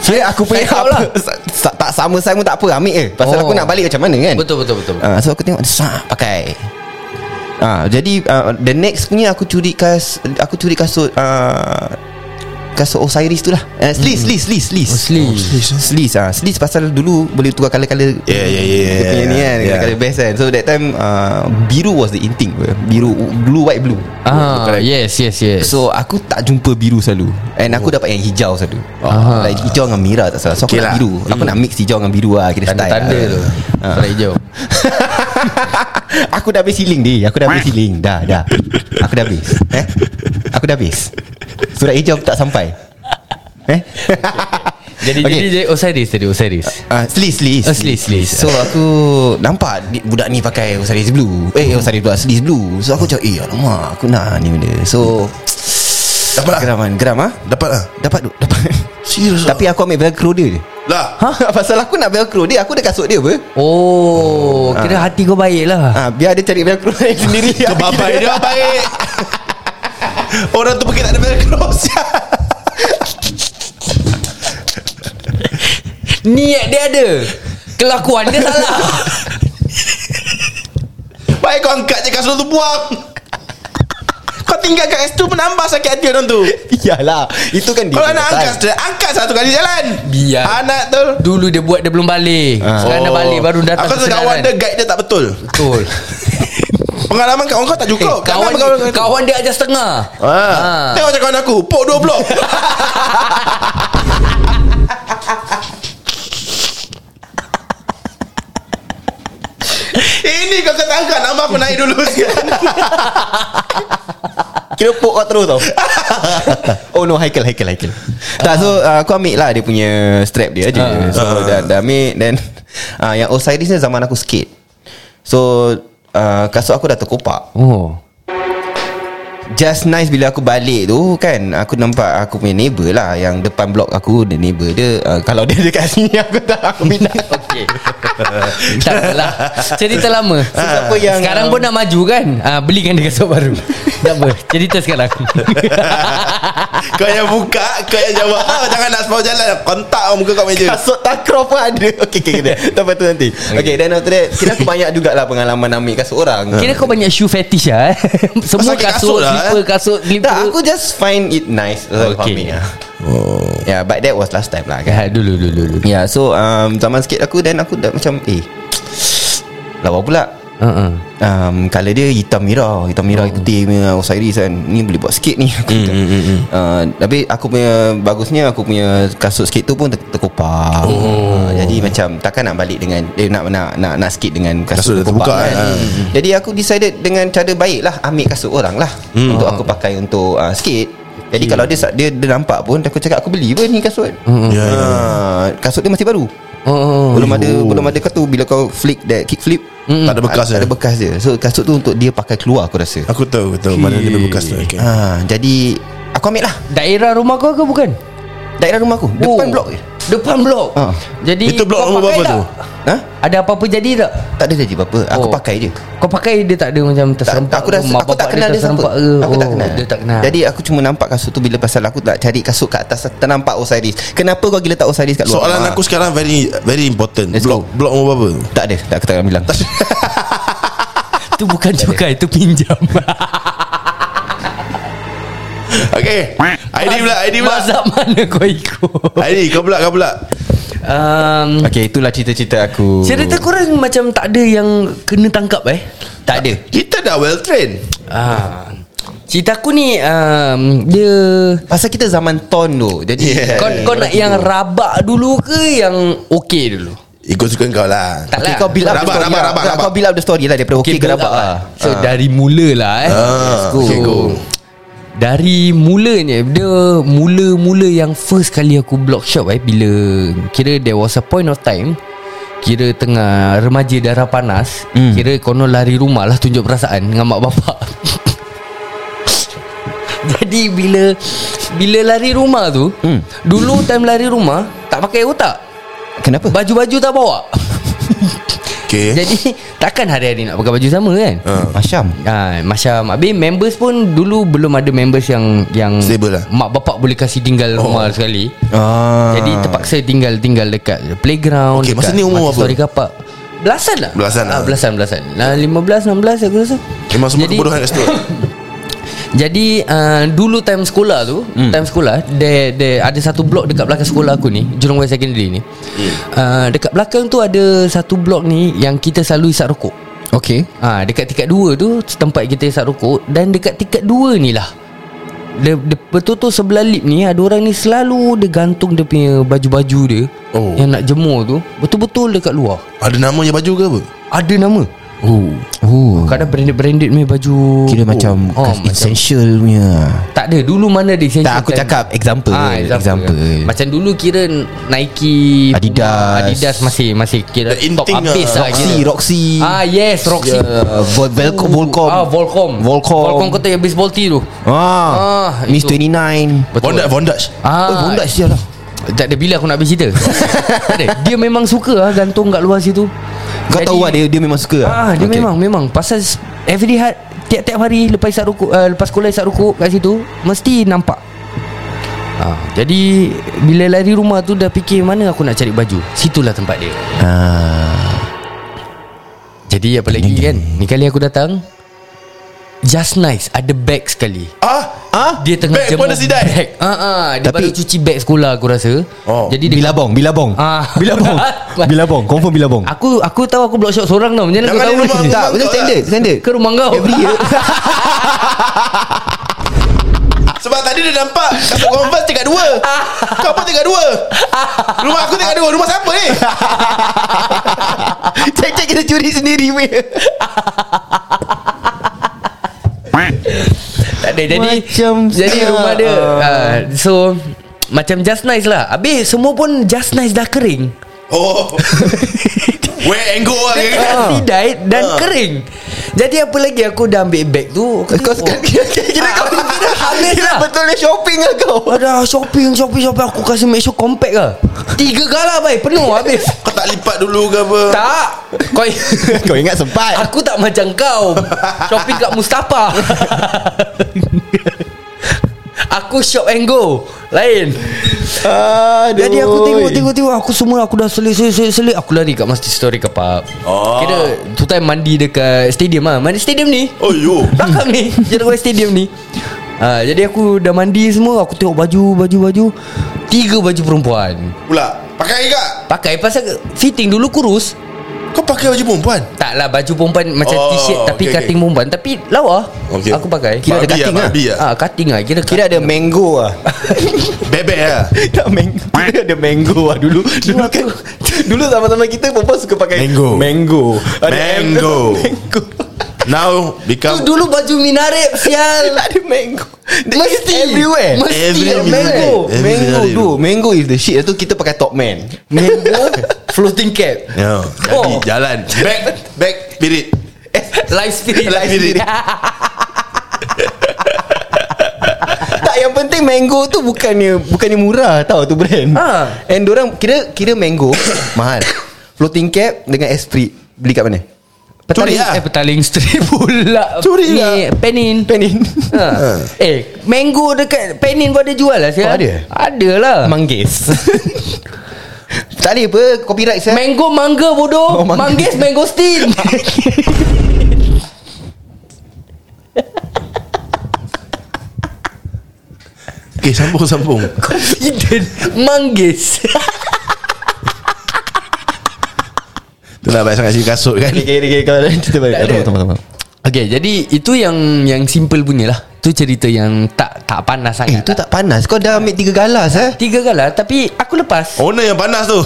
Speaker 4: So aku punya
Speaker 3: Saya tahu
Speaker 4: apa sa- sa- Tak sama saya pun tak apa Ambil je Pasal
Speaker 3: Oh.
Speaker 4: aku nak balik macam mana kan
Speaker 3: Betul-betul-betul
Speaker 4: Ah, So aku tengok Sah pakai Ah, Jadi ah, The next punya aku curi kas Aku curi kasut ah, Kasut Osiris tu lah uh, Sleeves Sleeves Sleeves Sleeves
Speaker 3: Oh, sleeves.
Speaker 4: Sleeves ah. Sleeves pasal dulu Boleh tukar colour-colour
Speaker 2: Yeah, yeah, yeah,
Speaker 4: Dia punya
Speaker 2: yeah,
Speaker 4: ni kan
Speaker 2: yeah.
Speaker 4: Colour-colour best kan So that time ah, Biru was the in thing Biru Blue white blue
Speaker 3: Ah, yes, yes, yes. Oh.
Speaker 4: So aku tak jumpa biru selalu And aku dapat yang hijau selalu Oh,
Speaker 3: Aha. Hmm.
Speaker 4: Like hijau dengan merah tak salah So aku
Speaker 2: Okay
Speaker 4: nak
Speaker 2: lah.
Speaker 4: biru Aku nak mix hijau dengan biru lah Kira style
Speaker 3: Tanda-tanda
Speaker 4: lah.
Speaker 3: tu
Speaker 4: Ah.
Speaker 3: Warna hijau
Speaker 4: Aku dah habis healing ni Aku dah habis healing Dah dah Aku dah habis Eh Aku dah habis Surat hijau aku tak sampai Eh
Speaker 3: Jadi
Speaker 4: Okay.
Speaker 3: okay. jadi jadi Osiris tadi Osiris
Speaker 4: Uh, sleeves, sleeves,
Speaker 3: Ah, sleeves, sleeves.
Speaker 4: So aku nampak di- budak ni pakai Osiris Blue
Speaker 3: Hmm.
Speaker 4: Eh Osiris Blue, Osiris Blue So aku cakap eh alamak aku nak ni benda So
Speaker 2: Dapat lah
Speaker 4: Geram kan, geram ah
Speaker 2: Dapat lah
Speaker 4: Dapat tu, dapat
Speaker 2: Serius lah
Speaker 4: Tapi aku ambil velcro dia je
Speaker 2: Lah
Speaker 4: Ha? Pasal aku nak velcro dia Aku ada kasut dia apa
Speaker 3: Oh, kira hati kau baik lah
Speaker 4: ha, Biar dia cari velcro dia sendiri
Speaker 2: Kebabai dia baik Orang tu pergi tak ada velcro
Speaker 3: Niat dia ada Kelakuan dia salah
Speaker 2: Baik kau angkat je kasut tu buang Kau tinggal kat situ Menambah sakit hati orang tu
Speaker 4: Iyalah Itu kan dia
Speaker 2: Kalau
Speaker 4: punya
Speaker 2: nak
Speaker 4: style.
Speaker 2: angkat straight Angkat satu kali jalan
Speaker 3: Biar.
Speaker 2: Anak tu
Speaker 3: Dulu dia buat dia belum balik Sekarang dah balik baru datang
Speaker 2: Aku rasa
Speaker 3: kesedaran.
Speaker 2: kawan dia Guide dia tak betul
Speaker 3: Betul
Speaker 2: Pengalaman kawan kau tak
Speaker 3: Eh,
Speaker 2: cukup
Speaker 3: kawan,
Speaker 2: Jangan
Speaker 3: kawan,
Speaker 2: berkawan dengan
Speaker 3: kawan dia ajar setengah
Speaker 4: Ah.
Speaker 2: aku. ha.
Speaker 3: Ah.
Speaker 2: Tengok macam kawan aku Pok dua blok Ini kau kata angkat Nama aku naik dulu
Speaker 4: Kira poke kau terus tau Oh no Haikal Haikal Haikal Tak so uh, Aku ambil lah dia punya Strap dia je
Speaker 2: Ah.
Speaker 4: So dah, dah ambil Then uh, Yang Osiris ni zaman aku skate So uh, Kasut aku dah terkopak
Speaker 3: Oh
Speaker 4: Just nice bila aku balik tu kan Aku nampak aku punya neighbour lah Yang depan blok aku The neighbour dia uh, Kalau dia dekat sini Aku tak aku minat
Speaker 3: Okay Tak apalah Cerita lama
Speaker 4: siapa yang,
Speaker 3: Sekarang
Speaker 4: um,
Speaker 3: pun nak maju kan ah, Belikan dia kasut baru Tak apa Cerita sekarang
Speaker 2: Kau yang buka Kau yang jawab Ah, Jangan nak separuh jalan Kontak orang muka kau meja
Speaker 4: Kasut takraw pun ada Okay okay okay Tak apa tu nanti Okay then after that Kira aku banyak jugalah Pengalaman ambil kasut orang
Speaker 3: Kira kau banyak shoe fetish lah eh? Semua
Speaker 2: Pasal
Speaker 3: kasut,
Speaker 2: kasut lah, eh?
Speaker 3: slipper, kasut, slipper
Speaker 4: Tak aku just find it nice That's what
Speaker 3: Okay.
Speaker 4: I mean, ah.
Speaker 2: Oh
Speaker 4: Yeah but that was last time lah
Speaker 3: Ya,
Speaker 4: kan
Speaker 3: dulu, dulu, dulu
Speaker 4: Yeah so um, Zaman sikit aku Then aku dah macam Eh Lawa pula
Speaker 3: uh-uh.
Speaker 4: um, Color dia hitam merah Hitam merah putih punya Osiris kan Ni boleh buat sikit ni aku mm, mm, mm. Uh, Tapi aku punya Bagusnya aku punya Kasut sikit tu pun ter- terkopak oh. uh, Jadi macam Takkan nak balik dengan eh, Nak nak nak, nak sikit dengan
Speaker 2: Kasut dah
Speaker 4: Kasut, terkopak
Speaker 2: terbuka,
Speaker 4: kan,
Speaker 2: eh.
Speaker 4: Jadi aku decided Dengan cara baik lah Ambil kasut orang lah mm. Untuk aku pakai untuk uh, sikit jadi kalau dia, sa- dia dia nampak pun aku cakap aku beli pun ni kasut. Hmm.
Speaker 2: Ya, ya.
Speaker 4: kasut dia masih baru.
Speaker 3: Eh. Oh.
Speaker 4: Belum ada belum ada kau tu bila kau flick that kick flip
Speaker 2: Tak ada bekas dia
Speaker 4: tak ada bekas dia. So kasut tu untuk dia pakai keluar aku rasa.
Speaker 2: Aku tahu Aku tahu Mana dia berbekas tu okay.
Speaker 4: Ha, jadi aku ambil lah
Speaker 3: Daerah rumah kau ke bukan?
Speaker 4: daerah rumah aku depan
Speaker 3: Oh.
Speaker 4: blok je.
Speaker 3: Depan blok
Speaker 4: Ah.
Speaker 3: Jadi
Speaker 2: Itu blok
Speaker 3: kau
Speaker 2: nombor berapa
Speaker 3: pakai tak?
Speaker 2: tu?
Speaker 4: Ha?
Speaker 3: Ada apa-apa jadi tak?
Speaker 4: Tak ada jadi apa-apa. Aku
Speaker 3: Oh.
Speaker 4: pakai je.
Speaker 3: Kau pakai dia tak ada macam
Speaker 4: Tak,
Speaker 3: terserempak
Speaker 4: aku dah
Speaker 3: mak
Speaker 4: aku tak
Speaker 3: bapak
Speaker 4: kenal dia siapa.
Speaker 3: terserempak ke?
Speaker 4: Aku tak
Speaker 3: Oh,
Speaker 4: kenal.
Speaker 3: Dia tak kenal
Speaker 4: Jadi aku cuma nampak kasut tu bila pasal aku tak cari kasut kat atas tak nampak Osiris. Kenapa kau gila tak Osiris kat luar?
Speaker 2: Soalan
Speaker 4: rumah?
Speaker 2: aku sekarang Very very important
Speaker 4: Let's
Speaker 2: Blok Blok nombor berapa tu?
Speaker 4: tak ada. Tak aku tak akan bilang.
Speaker 3: Itu bukan cukai Itu pinjam
Speaker 2: Okay ID pula ID pula
Speaker 3: Mazhab mana kau ikut
Speaker 2: ID kau pula kau pula
Speaker 3: um,
Speaker 4: Okey, itulah cerita-cerita aku.
Speaker 3: Cerita korang macam tak ada yang Kena tangkap eh Oh. Tak ada
Speaker 2: Kita dah well trained
Speaker 3: ah. Cerita aku ni um, Dia
Speaker 4: Pasal kita zaman ton tu. Jadi
Speaker 2: Yeah.
Speaker 3: Kau, kau nak yang rabak dulu ke Yang okey dulu
Speaker 2: Ikut suka kau lah
Speaker 3: Tak
Speaker 4: Okay,
Speaker 3: lah
Speaker 4: kau build up the
Speaker 2: Rabak,
Speaker 4: story
Speaker 2: rabak,
Speaker 4: lah.
Speaker 2: rabak,
Speaker 4: Kau-
Speaker 2: rabak.
Speaker 4: Kau build up the story lah Daripada okey ke
Speaker 3: build
Speaker 4: rabak
Speaker 3: up
Speaker 4: lah.
Speaker 3: So
Speaker 4: Ah.
Speaker 3: dari mula lah eh
Speaker 2: Ah, okay, go.
Speaker 3: Dari mulanya Dia mula-mula yang first kali aku block shop eh Bila Kira there was a point of time Kira tengah remaja darah panas mm.
Speaker 4: Hmm.
Speaker 3: Kira konon lari rumah lah Tunjuk perasaan dengan mak bapak Jadi bila Bila lari rumah tu mm.
Speaker 4: Hmm.
Speaker 3: Dulu time lari rumah Tak pakai otak
Speaker 4: Kenapa?
Speaker 3: Baju-baju tak bawa
Speaker 2: Okay
Speaker 3: Jadi takkan hari-hari nak pakai baju sama kan
Speaker 2: Ah.
Speaker 4: Masyam.
Speaker 3: Ah, macam Habis members pun Dulu belum ada members yang yang
Speaker 2: Stable lah.
Speaker 3: Mak bapak boleh kasih tinggal oh. rumah sekali
Speaker 4: Ah.
Speaker 3: Jadi terpaksa tinggal-tinggal dekat playground
Speaker 2: Okey,
Speaker 3: dekat
Speaker 2: masa ni umur
Speaker 3: multi-storey kapak Belasan lah
Speaker 2: Belasan
Speaker 3: ah,
Speaker 2: lah.
Speaker 3: Belasan belasan nah, 15, 16 aku rasa
Speaker 2: Memang semua
Speaker 3: Jadi-
Speaker 2: kebodohan kat situ
Speaker 3: Jadi uh, Dulu time sekolah tu hmm. Time sekolah there, there, Ada satu blok dekat belakang sekolah aku ni Jurong West Secondary ni hmm. uh, Dekat belakang tu ada Satu blok ni Yang kita selalu isap rokok
Speaker 4: Okay.
Speaker 3: Ah, ha, dekat tingkat 2 tu tempat kita isap rokok dan dekat tingkat 2 ni lah. Dia, dia, betul tu sebelah lip ni ada orang ni selalu dia gantung dia punya baju-baju dia
Speaker 2: Oh.
Speaker 3: yang nak jemur tu betul-betul dekat luar.
Speaker 2: Ada namanya baju ke apa?
Speaker 3: Ada nama.
Speaker 2: Oh
Speaker 4: Oh.
Speaker 3: Kadang branded-branded punya baju.
Speaker 4: Kira macam
Speaker 3: oh,
Speaker 4: kas-
Speaker 3: macam
Speaker 4: essential punya.
Speaker 3: tak ada dulu mana dia
Speaker 4: Tak aku cakap example.
Speaker 3: Ah, example. example. Macam dulu kira Nike, Puma,
Speaker 4: Adidas.
Speaker 3: Adidas masih masih kira
Speaker 2: The in
Speaker 3: top
Speaker 2: thing
Speaker 3: habis
Speaker 2: lah. Ya.
Speaker 3: lah.
Speaker 4: Roxy,
Speaker 3: kira.
Speaker 4: Roxy.
Speaker 3: Ah yes, Roxy.
Speaker 4: Yeah. Vol- Volcom, Volcom.
Speaker 3: Ah Volcom.
Speaker 4: Volcom.
Speaker 3: Volcom kau tu yang baseball tee tu.
Speaker 4: Ah.
Speaker 3: Ah,
Speaker 4: Miss
Speaker 3: itu.
Speaker 4: 29.
Speaker 2: Bondage Bondage
Speaker 3: Ah,
Speaker 4: Oh, bondak sial lah.
Speaker 3: Tak ada bila aku nak habis cerita. tak ada. Dia memang suka ah gantung kat luar situ.
Speaker 4: Kau
Speaker 3: Jadi-
Speaker 4: tahu lah dia, dia memang suka lah?
Speaker 3: Ah, dia
Speaker 4: Okay.
Speaker 3: okay. memang memang pasal s- every hari tiap-tiap hari lepas isap rukuk uh, lepas sekolah isap rukuk kat situ mesti nampak. Ah, jadi bila lari rumah tu dah fikir mana aku nak cari baju. Situlah tempat dia.
Speaker 4: Ah.
Speaker 3: Jadi apa lagi kan? Ni kali aku datang Just nice Ada bag sekali
Speaker 2: Ah
Speaker 4: Ah?
Speaker 3: Dia tengah
Speaker 2: Bag pun ada sidai?
Speaker 3: bag ah, ah, Dia
Speaker 4: Tapi-
Speaker 3: Tapi, baru cuci bag sekolah aku rasa
Speaker 2: Oh.
Speaker 3: Jadi dia
Speaker 4: Bilabong, bilabong.
Speaker 3: Ah.
Speaker 4: Bilabong. Bilabong, confirm bilabong.
Speaker 3: Aku aku tahu aku block shot seorang tau Macam mana
Speaker 2: Jangan
Speaker 3: aku
Speaker 2: ada
Speaker 3: tahu
Speaker 2: rumah-
Speaker 3: ni?
Speaker 4: Tak,
Speaker 2: Memang
Speaker 4: betul
Speaker 2: kau lah.
Speaker 4: standard, standard.
Speaker 3: Ke rumah kau
Speaker 4: Every year.
Speaker 2: Sebab tadi dia nampak Kasut converse tingkat dua Kau pun tingkat dua Rumah aku tingkat dua Rumah siapa ni
Speaker 4: Cek-cek kita curi sendiri punya.
Speaker 3: Tak ada jadi
Speaker 4: Macam-
Speaker 3: Jadi rumah dia ah, So Macam just nice lah Habis semua pun just nice dah kering
Speaker 2: Oh Where and go lah
Speaker 3: Dia
Speaker 2: kan?
Speaker 3: dah sidai dan kering Jadi apa lagi aku dah ambil bag tu Aku
Speaker 4: Kau
Speaker 3: tengok.
Speaker 4: kira kau
Speaker 3: Ah, aku kira habis
Speaker 4: kira
Speaker 3: lah.
Speaker 4: betul dia shopping lah kau.
Speaker 3: Ada shopping shopping shopping aku kasi make sure compact lah. Tiga galah baik penuh habis.
Speaker 2: Kau tak lipat dulu ke apa
Speaker 3: tak. Kau
Speaker 4: Kau ingat sempat.
Speaker 3: aku tak macam kau. Shopping kat Mustafa. aku shop and go. Lain.
Speaker 4: Aduh.
Speaker 3: Jadi aku tengok tengok tengok aku semua aku dah selit selit selit, selit. aku lari kat Masjid Story Kepak.
Speaker 2: Oh.
Speaker 3: Kira tu time mandi dekat stadium ah. Mandi stadium ni.
Speaker 2: Oh yo
Speaker 3: Belakang ni Jalan West Stadium ni ha, Jadi aku dah mandi semua Aku tengok baju Baju baju Tiga baju perempuan
Speaker 2: Pula Pakai ke
Speaker 3: Pakai pasal Fitting dulu kurus
Speaker 2: Kau pakai baju perempuan
Speaker 3: Tak lah baju perempuan Macam
Speaker 2: Oh,
Speaker 3: oh, t-shirt Tapi
Speaker 2: okay,
Speaker 3: okay, cutting
Speaker 2: okay.
Speaker 3: perempuan Tapi lawa
Speaker 2: Okey.
Speaker 3: okay. Aku pakai
Speaker 4: Kira ada
Speaker 2: Babi
Speaker 4: cutting lah.
Speaker 2: Babi lah
Speaker 3: Ah, cutting lah Kira
Speaker 4: Kira ada mango ah.
Speaker 2: Bebek lah
Speaker 4: tak mango. Kira ada mango ah dulu. Dulu kan dulu sama-sama kita perempuan suka pakai
Speaker 2: Mango.
Speaker 4: Mango.
Speaker 2: Mango.
Speaker 4: mango.
Speaker 2: Now
Speaker 3: Tu
Speaker 2: Become
Speaker 3: dulu baju minarip Sial
Speaker 4: ada mango.
Speaker 3: Mesti.
Speaker 4: Mesti everywhere.
Speaker 3: Mesti
Speaker 2: Every
Speaker 3: ada
Speaker 2: minute.
Speaker 4: Mango
Speaker 2: Every
Speaker 4: Mango
Speaker 2: minute.
Speaker 4: tu Mango is the shit Itu kita pakai top man
Speaker 3: Mango Floating cap
Speaker 2: Ya, jadi
Speaker 3: Oh.
Speaker 2: jalan Back Back Spirit
Speaker 3: Life spirit
Speaker 2: Life spirit.
Speaker 4: Tak yang penting mango tu bukannya bukannya murah tau tu brand.
Speaker 3: Ha.
Speaker 4: Ha. And orang kira kira mango mahal. Floating cap dengan esprit beli kat mana?
Speaker 2: Curi
Speaker 3: Petaling,
Speaker 2: lah.
Speaker 3: eh, petaling strip pula
Speaker 4: Curi
Speaker 3: Ni,
Speaker 4: lah.
Speaker 3: Penin
Speaker 4: Penin.
Speaker 3: ha. Eh Mango dekat Penin pun ada jual lah sial.
Speaker 4: Oh, ada?
Speaker 3: Ada lah
Speaker 4: Manggis. tak ada apa copyright saya.
Speaker 3: Mango mangga bodoh oh,
Speaker 4: Oh, mangga.
Speaker 3: Manggis mangosteen
Speaker 2: Okay sambung sambung
Speaker 3: Confident Manggis
Speaker 2: Itulah banyak sangat sini lah kasut kan
Speaker 4: Okay, okay, okay, kalau ada cerita balik.
Speaker 3: Tak ada.
Speaker 4: Tunggu, tunggu, tunggu.
Speaker 3: Okay jadi Itu yang Yang simple punya lah Itu cerita yang Tak tak panas
Speaker 4: Eh,
Speaker 3: sangat
Speaker 4: itu
Speaker 3: lah.
Speaker 4: tak panas. Kau dah ambil tiga galas eh.
Speaker 3: Tiga galah Tapi aku lepas
Speaker 2: Oh, Owner yang panas tu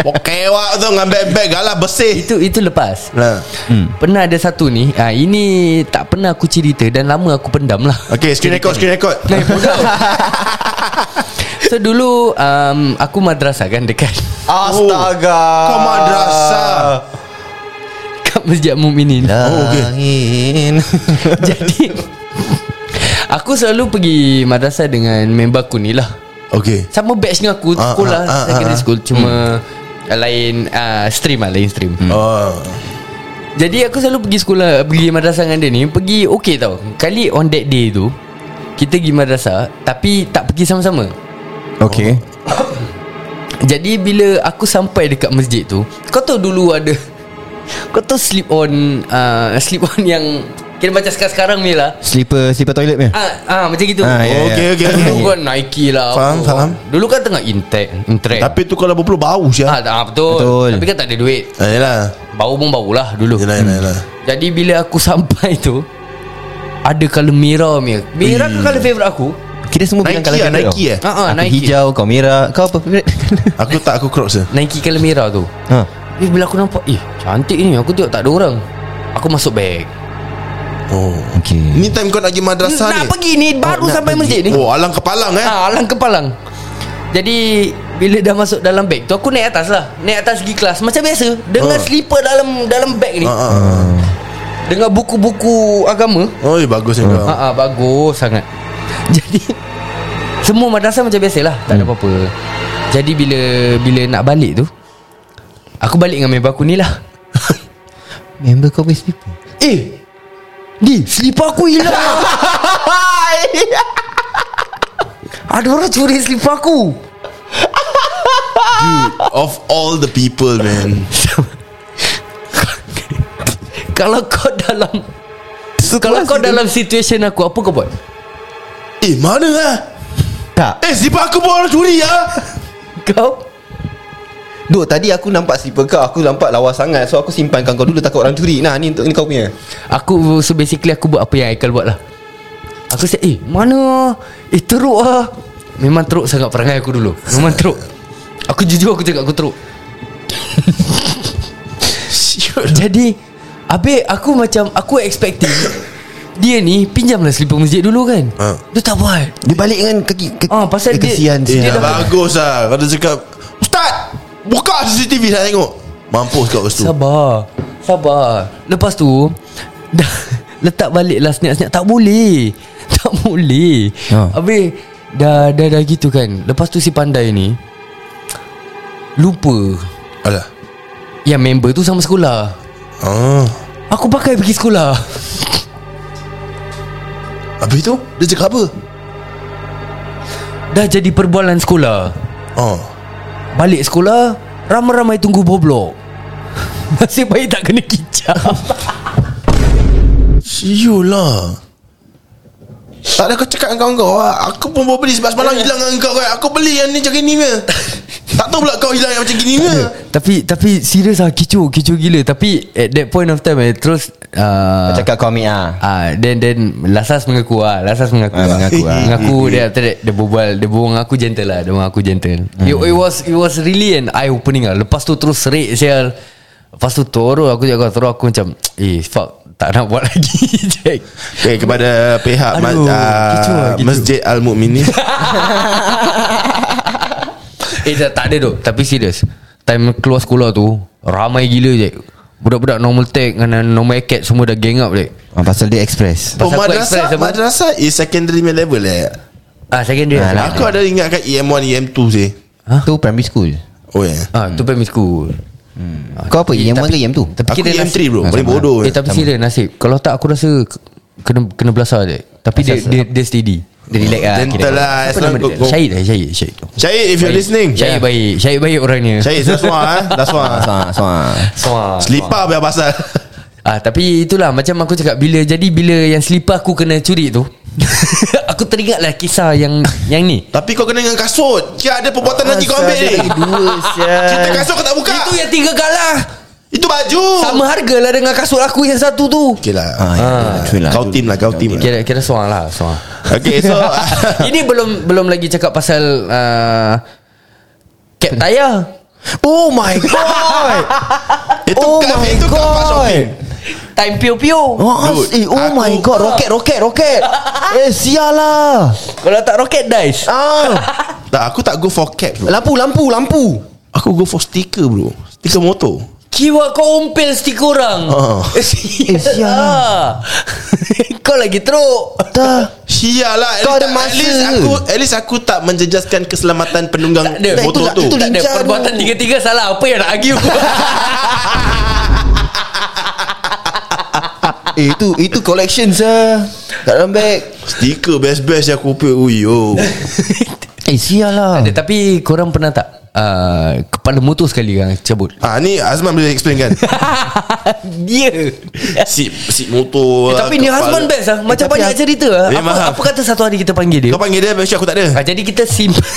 Speaker 2: Pokewak tu Dengan beg-beg galah bersih
Speaker 3: Itu itu lepas
Speaker 2: Nah.
Speaker 3: hmm. Pernah ada satu ni ha, Ini tak pernah aku cerita Dan lama aku pendam lah
Speaker 2: Okay screen record Screen record
Speaker 3: Naik bodoh So dulu um, Aku madrasah kan dekat
Speaker 2: Oh,
Speaker 4: Astaga.
Speaker 2: Kau madrasah
Speaker 3: Kat Masjid Muminin
Speaker 2: Ya.
Speaker 4: Oh, okay.
Speaker 3: Jadi Aku selalu pergi madrasah dengan member aku ni lah
Speaker 2: Okay
Speaker 3: Sama batch dengan aku
Speaker 2: Ah,
Speaker 3: Sekolah
Speaker 2: ah, ah,
Speaker 3: Secondary
Speaker 2: ah. Hmm.
Speaker 3: school Cuma Lain uh, stream lah Lain stream
Speaker 2: Oh
Speaker 3: Jadi aku selalu pergi sekolah Pergi madrasah dengan dia ni Pergi okey tau Kali on that day tu Kita pergi madrasah Tapi tak pergi sama-sama
Speaker 4: Okay.
Speaker 3: Jadi bila aku sampai dekat masjid tu Kau tahu dulu ada Kau tahu slip on uh, Slip on yang Kira macam sekarang-sekarang ni lah
Speaker 4: Sleeper sleeper toilet punya.
Speaker 3: Ah, ah macam gitu.
Speaker 4: Ah, ya, ya.
Speaker 2: Okay okay okay
Speaker 3: Dulu kan Nike lah.
Speaker 2: Faham,
Speaker 3: apa.
Speaker 2: faham.
Speaker 3: Dulu kan tengah intek, intrek.
Speaker 2: Tapi tu kalau berpeluh bau Ah,
Speaker 3: ah,
Speaker 2: siapa
Speaker 3: ah betul.
Speaker 4: Betul.
Speaker 3: Tapi kan tak ada duit.
Speaker 2: Yelah
Speaker 3: Bau pun baulah dulu.
Speaker 2: Yelah yelah yelah
Speaker 3: Jadi bila aku sampai tu ada colour merah punya. Merah ke colour favourite aku?
Speaker 4: Kira semua
Speaker 2: Nike
Speaker 4: bilang kalau
Speaker 2: lah,
Speaker 4: kita
Speaker 2: Nike
Speaker 4: tau.
Speaker 2: eh?
Speaker 3: Ha, ha,
Speaker 4: Aku
Speaker 3: Nike.
Speaker 4: hijau, kau merah, kau apa?
Speaker 2: Aku tak aku crocs je
Speaker 3: Nike colour merah tu.
Speaker 4: ha.
Speaker 3: Eh bila aku nampak, eh cantik ni. Aku tengok tak ada orang. Aku masuk beg.
Speaker 2: Oh
Speaker 4: Okey.
Speaker 2: Ni time kau nak pergi madrasah ni
Speaker 3: nak pergi ni baru
Speaker 2: nak
Speaker 3: sampai
Speaker 2: pergi.
Speaker 3: masjid ni.
Speaker 2: Oh alang kepalang eh
Speaker 3: Ah, alang kepalang. Jadi bila dah masuk dalam beg tu aku naik atas lah. Naik atas pergi kelas macam biasa
Speaker 2: Ah.
Speaker 3: dengan slipper dalam dalam beg ni.
Speaker 2: Ah, ah, ah.
Speaker 3: Dengan buku-buku agama
Speaker 2: Oi bagus ni kau
Speaker 3: ha, ha, Bagus sangat Jadi Semua madrasah macam biasa lah Tak ada apa-apa Jadi bila Bila nak balik tu Aku balik dengan member aku ni lah
Speaker 4: Member kau best sleeper.
Speaker 3: Eh Di Selipar aku hilang Ada orang curi selipar aku
Speaker 2: Of all the people man
Speaker 3: Kalau kau dalam Kalau kau dalam situation aku Apa kau buat?
Speaker 2: Eh mana lah
Speaker 4: Tak.
Speaker 2: Eh sipar aku pun orang curi lah
Speaker 3: Kau
Speaker 4: Duk tadi aku nampak sleeper kau, aku nampak lawa sangat. So aku simpankan kau dulu takut orang curi. Nah, ni untuk ni kau punya.
Speaker 3: Aku So basically aku buat apa yang Aikal buat lah Aku cakap Eh mana Eh teruk lah Memang teruk sangat perangai aku dulu Memang teruk Aku jujur aku cakap aku teruk Jadi Habis aku macam Aku expecting Dia ni Pinjamlah selipar masjid dulu kan
Speaker 2: Ha.
Speaker 3: Dia tak buat
Speaker 4: Dia balik dengan kaki, kaki
Speaker 3: Ah, pasal dia-
Speaker 4: kesian
Speaker 2: Eh
Speaker 4: dia,
Speaker 2: dah bagus lah Kau dah cakap Ustaz Buka CCTV saya lah tengok Mampus kat situ
Speaker 3: Sabar Sabar Lepas tu dah, Letak balik lah senyap-senyap Tak boleh Tak boleh
Speaker 4: Ha.
Speaker 3: ha. Habis dah, dah dah gitu kan Lepas tu si pandai ni Lupa
Speaker 2: Alah
Speaker 3: Yang member tu sama sekolah
Speaker 2: ah.
Speaker 3: Aku pakai pergi sekolah
Speaker 2: Habis tu Dia cakap apa
Speaker 3: Dah jadi perbualan sekolah
Speaker 2: Oh
Speaker 3: Balik sekolah Ramai-ramai tunggu boblok Nasib baik tak kena kicap
Speaker 2: Siul lah tak ada kau cakap dengan kau kau lah. Aku pun baru beli sebab semalam hilang dengan kau kan Aku beli yang ni macam gini ke Tak tahu pula kau hilang yang macam gini ke
Speaker 3: Ya, Tapi tapi serius lah Kecoh Kecoh gila Tapi at that point of time eh, Terus uh,
Speaker 4: Cakap kau ambil ah.
Speaker 3: Ah, then then Lasas mengaku ah, Lasas mengaku.
Speaker 4: Ah, mengaku ah.
Speaker 3: Mengaku dia after that dia berbual, dia berbual dengan aku gentle lah, dia berbual dengan aku gentle. It, it was it was really an eye opening lah. Lepas tu terus serik sial. Lepas tu terus aku jaga terus aku macam eh fuck tak nak buat lagi Jack.
Speaker 2: Okay, kepada pihak Aduh,
Speaker 3: Aduh, kecoh lah, kecoh.
Speaker 2: Masjid Al-Mu'minin
Speaker 3: Eh tak, tak ada dok, tapi serius. Time keluar sekolah tu Ramai gila je Budak-budak normal tech Dengan normal acad Semua dah gang up je
Speaker 4: Ah, Pasal dia express
Speaker 2: Oh
Speaker 3: Pasal aku
Speaker 2: madrasah
Speaker 3: express apa?
Speaker 2: Madrasah is secondary punya level eh
Speaker 3: Ah secondary
Speaker 4: Ah,
Speaker 3: ah,
Speaker 2: Aku ada ingatkan E EM1 EM2 sih
Speaker 4: huh? Tu primary school
Speaker 2: Oh ya yeah.
Speaker 3: ah tu primary school
Speaker 4: Kau apa yang mana yang tu
Speaker 3: Eh, Tapi
Speaker 2: Aku
Speaker 3: kita
Speaker 2: EM3
Speaker 3: nasib-
Speaker 2: bro
Speaker 4: Ah,
Speaker 2: Paling
Speaker 4: sama.
Speaker 2: bodoh
Speaker 3: Eh tapi serius nasib Kalau tak aku rasa k- Kena kena belasah je Tapi dia, dia, dia steady Dia
Speaker 4: ah,
Speaker 3: relax
Speaker 4: Ya,
Speaker 3: lah
Speaker 2: Gentle lah, as
Speaker 3: Apa
Speaker 2: long
Speaker 3: nama dia?
Speaker 2: go- go-
Speaker 3: Syahid lah Syahid Syahid
Speaker 2: Syahid if you're listening
Speaker 3: Syahid baik Syahid baik orangnya
Speaker 2: Syahid that's why eh That's why
Speaker 4: Soa, soa.
Speaker 3: Soa
Speaker 2: Selipar biar pasal
Speaker 3: Ah tapi itulah macam aku cakap bila jadi bila yang selipar aku kena curi tu. aku teringatlah kisah yang yang ni.
Speaker 2: Tapi kau kena dengan kasut Cik ada perbuatan lagi kau ambil ni
Speaker 4: Dua
Speaker 2: Cerita kasut kau tak buka
Speaker 3: Itu yang tiga kalah.
Speaker 2: Itu baju
Speaker 3: Sama harga lah dengan kasut aku yang satu tu.
Speaker 2: Okay lah
Speaker 4: sial
Speaker 2: Kau team lah Kau team lah
Speaker 3: Kira kira soal lah soal.
Speaker 2: Okay so
Speaker 3: Ini belum belum lagi cakap pasal uh, cap tayar.
Speaker 4: Oh my god
Speaker 2: Itu
Speaker 4: Oh
Speaker 2: kat
Speaker 4: my
Speaker 2: Itu kat fast shopping
Speaker 3: Time pio-pio.
Speaker 4: Oh,
Speaker 2: Dude,
Speaker 4: eh, oh
Speaker 2: aku-
Speaker 4: my god Roket roket roket Eh sial lah
Speaker 3: Kalau tak rocket dice.
Speaker 4: ah.
Speaker 2: Tak aku tak go for cap bro
Speaker 4: Lampu lampu lampu
Speaker 2: Aku go for stiker bro Stiker motor
Speaker 3: Kiwa kau umpil stick orang.
Speaker 2: Oh.
Speaker 3: Eh,
Speaker 4: Eh, sial
Speaker 3: sial. kau lagi teruk.
Speaker 4: Dah
Speaker 2: Sia lah at
Speaker 4: Kau
Speaker 2: least-
Speaker 4: ada
Speaker 2: At
Speaker 4: masa
Speaker 2: least
Speaker 4: ke?
Speaker 2: aku At least aku tak menjejaskan Keselamatan penunggang
Speaker 3: Tak ada.
Speaker 2: motor
Speaker 4: Itulah-
Speaker 2: tu
Speaker 4: itulah-
Speaker 3: Tak ada
Speaker 4: Lincah
Speaker 3: perbuatan
Speaker 4: tu.
Speaker 3: tiga-tiga salah Apa yang nak argue
Speaker 4: Eh itu itu collections ah. Kat dalam beg.
Speaker 2: Stiker best-best yang aku pay Uyo
Speaker 4: Eh sial lah.
Speaker 3: Eh, Tapi korang pernah tak uh, Kepala motor sekali kan Cabut
Speaker 2: Ah ni Azman boleh explain kan
Speaker 3: Dia
Speaker 2: Sip Sip motor
Speaker 3: eh, Tapi ni husband best lah Macam
Speaker 4: Eh, tapi
Speaker 3: banyak
Speaker 4: aku-
Speaker 3: cerita lah
Speaker 2: Eh,
Speaker 3: apa,
Speaker 2: maaf.
Speaker 3: apa kata satu hari kita panggil dia
Speaker 2: Kau panggil dia Actually aku tak ada
Speaker 3: ah, Jadi kita simpan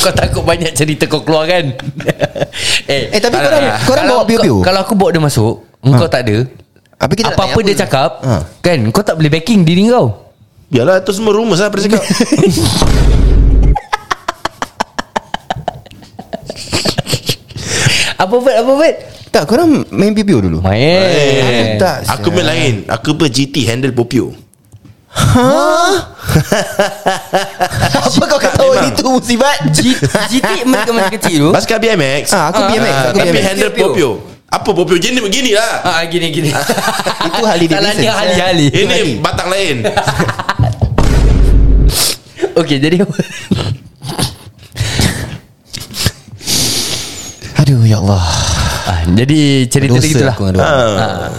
Speaker 3: Kau takut banyak cerita kau keluar kan Eh,
Speaker 4: Eh, tapi
Speaker 3: tak
Speaker 4: korang-
Speaker 3: nak.
Speaker 4: korang
Speaker 3: Kalau
Speaker 4: bawa Ha. piu-piu?
Speaker 3: kau- Kalau aku bawa dia masuk Engkau tak ada
Speaker 4: Apa kita nak
Speaker 3: Apa-apa
Speaker 4: tanya
Speaker 3: dia cakap
Speaker 4: Ha.
Speaker 3: Kan kau tak boleh backing diri kau
Speaker 2: Biarlah itu semua rumus lah Pada cakap
Speaker 3: Apa Fat Apa Fat
Speaker 4: Tak korang main PPO dulu.
Speaker 3: Main
Speaker 4: Aku Eh, tak
Speaker 2: Aku main lain Aku pun GT handle Popio
Speaker 4: Apa kau ketawa
Speaker 2: memang.
Speaker 4: itu
Speaker 3: Oh,
Speaker 4: musibat?
Speaker 3: GT masa kecil tu
Speaker 2: Basikal BMX
Speaker 4: Ah
Speaker 3: Ah,
Speaker 4: aku BMX,
Speaker 2: Ah,
Speaker 4: aku
Speaker 2: Tapi
Speaker 4: BMX.
Speaker 2: handle
Speaker 3: Popio.
Speaker 2: Popio Apa Popio Gini begini lah
Speaker 3: Ah gini gini.
Speaker 4: Itu Harley
Speaker 3: Salah
Speaker 4: Davidson.
Speaker 3: dia Harley Harley.
Speaker 2: Ini batang lain
Speaker 3: Okey jadi
Speaker 4: Aduh ya Allah.
Speaker 3: ah, jadi cerita
Speaker 4: Dosa
Speaker 3: dia gitulah.
Speaker 4: aku dengan dia.
Speaker 2: Ah.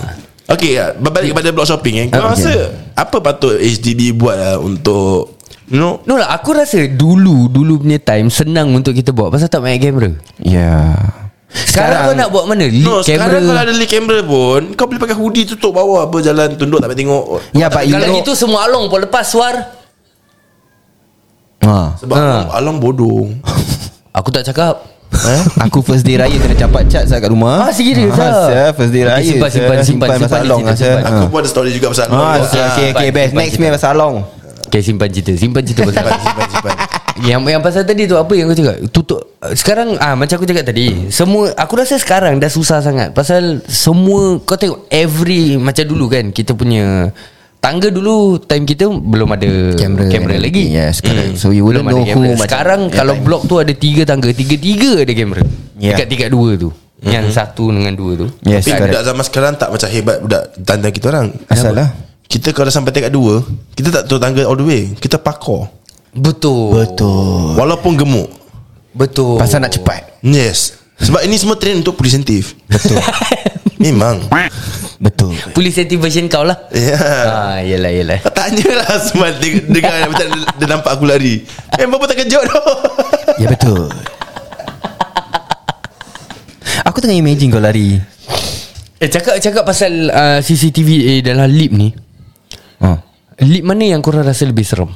Speaker 2: Okey, ah, berbalik kepada blog shopping eh. Kau
Speaker 4: Ah, okey.
Speaker 2: rasa apa patut HDB buat lah untuk you know
Speaker 3: No lah aku rasa dulu dulu punya time senang untuk kita buat pasal tak main kamera.
Speaker 4: Ya.
Speaker 3: Sekarang, kau nak buat mana? Lead
Speaker 2: No,
Speaker 3: kamera.
Speaker 2: sekarang kalau ada leak kamera pun Kau boleh pakai hoodie tutup bawah apa Jalan tunduk tak payah tengok
Speaker 4: Ya Pak you
Speaker 3: kalau
Speaker 4: know.
Speaker 3: gitu semua along pun lepas suar.
Speaker 4: Ha.
Speaker 2: Sebab
Speaker 3: Ah.
Speaker 2: along, along bodoh
Speaker 3: Aku tak cakap.
Speaker 4: Eh? Aku first day raya kena capat cat saya kat rumah.
Speaker 3: Ah, serius ah?
Speaker 4: Ha, sia, first day
Speaker 3: Okay,
Speaker 4: raya.
Speaker 3: simpan,
Speaker 4: sia.
Speaker 3: simpan, simpan,
Speaker 4: pasal
Speaker 3: simpan
Speaker 4: long
Speaker 3: je,
Speaker 4: ah, sia.
Speaker 3: simpan.
Speaker 2: Aku pun ada story juga pasal
Speaker 4: Ha.
Speaker 2: along
Speaker 4: Ah, okay, okay,
Speaker 3: Simpan,
Speaker 4: best.
Speaker 3: simpan,
Speaker 4: Next me pasal long.
Speaker 3: Okay simpan cerita Simpan cerita pasal
Speaker 2: Simpan, simpan.
Speaker 3: Yang yang pasal tadi tu Apa yang kau cakap Tutup uh, Sekarang ah Macam aku cakap
Speaker 4: Hmm.
Speaker 3: tadi Semua Aku rasa sekarang Dah susah sangat Pasal semua Kau tengok every Macam dulu kan Kita punya Tangga dulu Time kita Belum ada
Speaker 4: Kamera.
Speaker 3: Kamera lagi
Speaker 4: Yes, correct. So, you wouldn't
Speaker 3: Belum ada
Speaker 4: know who
Speaker 3: kamera.
Speaker 4: macam-
Speaker 3: Sekarang
Speaker 4: Yeah,
Speaker 3: Kalau
Speaker 4: time.
Speaker 3: blok tu ada Tiga tangga Tiga-tiga ada kamera
Speaker 4: Yeah.
Speaker 3: Tingkat-tingkat dua tu Yang satu dengan dua tu
Speaker 4: Yes,
Speaker 2: Tapi Kan,
Speaker 4: correct.
Speaker 2: budak zaman sekarang tak macam hebat budak tanda kita orang
Speaker 4: Asal lah.
Speaker 2: Kita kalau sampai tingkat dua Kita tak turun tangga all the way Kita parkour
Speaker 3: Betul Oh. Betul
Speaker 2: Walaupun gemuk
Speaker 3: Betul
Speaker 4: Pasal nak cepat.
Speaker 2: Yes Sebab ini semua train untuk presentif Betul Memang
Speaker 4: Betul.
Speaker 3: Polis anti version kau lah
Speaker 2: Ya yeah.
Speaker 3: Ah, yelah yelah
Speaker 2: Kau tanya lah Semua dia- Dengar macam Dia nampak aku lari Eh, Memang pun terkejut tu
Speaker 4: Ya betul Aku tengah imagine kau lari
Speaker 3: Eh cakap cakap pasal uh, CCTV eh, dalam lip ni.
Speaker 4: ha.
Speaker 3: Lip mana yang korang rasa lebih serem?